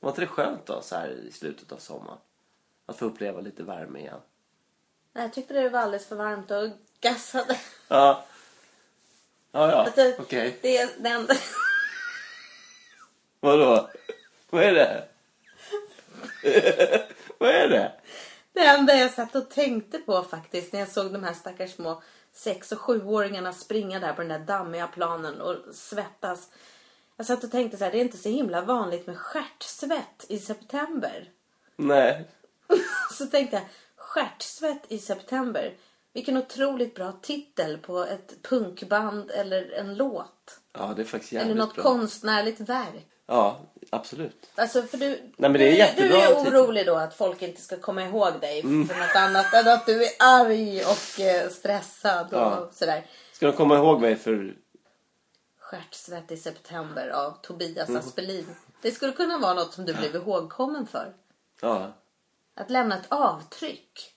[SPEAKER 2] Var inte det skönt då, så här i slutet av sommaren? Att få uppleva lite värme igen.
[SPEAKER 1] Nej, Jag tyckte det var alldeles för varmt och gassade.
[SPEAKER 2] Ja. Ja, ja.
[SPEAKER 1] Alltså,
[SPEAKER 2] Okej.
[SPEAKER 1] Det är det enda...
[SPEAKER 2] Vadå? Vad är det? (laughs) Vad är det?
[SPEAKER 1] Det enda jag satt och tänkte på faktiskt när jag såg de här stackars små sex och sjuåringarna springa där på den där dammiga planen och svettas. Jag satt och tänkte så här, det är inte så himla vanligt med stjärtsvett i september.
[SPEAKER 2] Nej.
[SPEAKER 1] Så tänkte jag, stjärtsvett i september. Vilken otroligt bra titel på ett punkband eller en låt.
[SPEAKER 2] Ja, det är faktiskt
[SPEAKER 1] Eller
[SPEAKER 2] jävligt
[SPEAKER 1] något
[SPEAKER 2] bra.
[SPEAKER 1] konstnärligt verk.
[SPEAKER 2] Ja, absolut.
[SPEAKER 1] Alltså för du,
[SPEAKER 2] men det är
[SPEAKER 1] du,
[SPEAKER 2] jättebra typ. Mm.
[SPEAKER 1] du är
[SPEAKER 2] titel.
[SPEAKER 1] orolig då att folk inte ska komma ihåg dig för något annat än att du är arg och eh, stressad och
[SPEAKER 2] Ja.
[SPEAKER 1] sådär.
[SPEAKER 2] Ska de komma ihåg mig för...
[SPEAKER 1] Stjärtsvett i september av Tobias
[SPEAKER 2] Mm.
[SPEAKER 1] Aspelin. Det skulle kunna vara något som du blev ihågkommen för.
[SPEAKER 2] Ja.
[SPEAKER 1] Att lämna ett avtryck.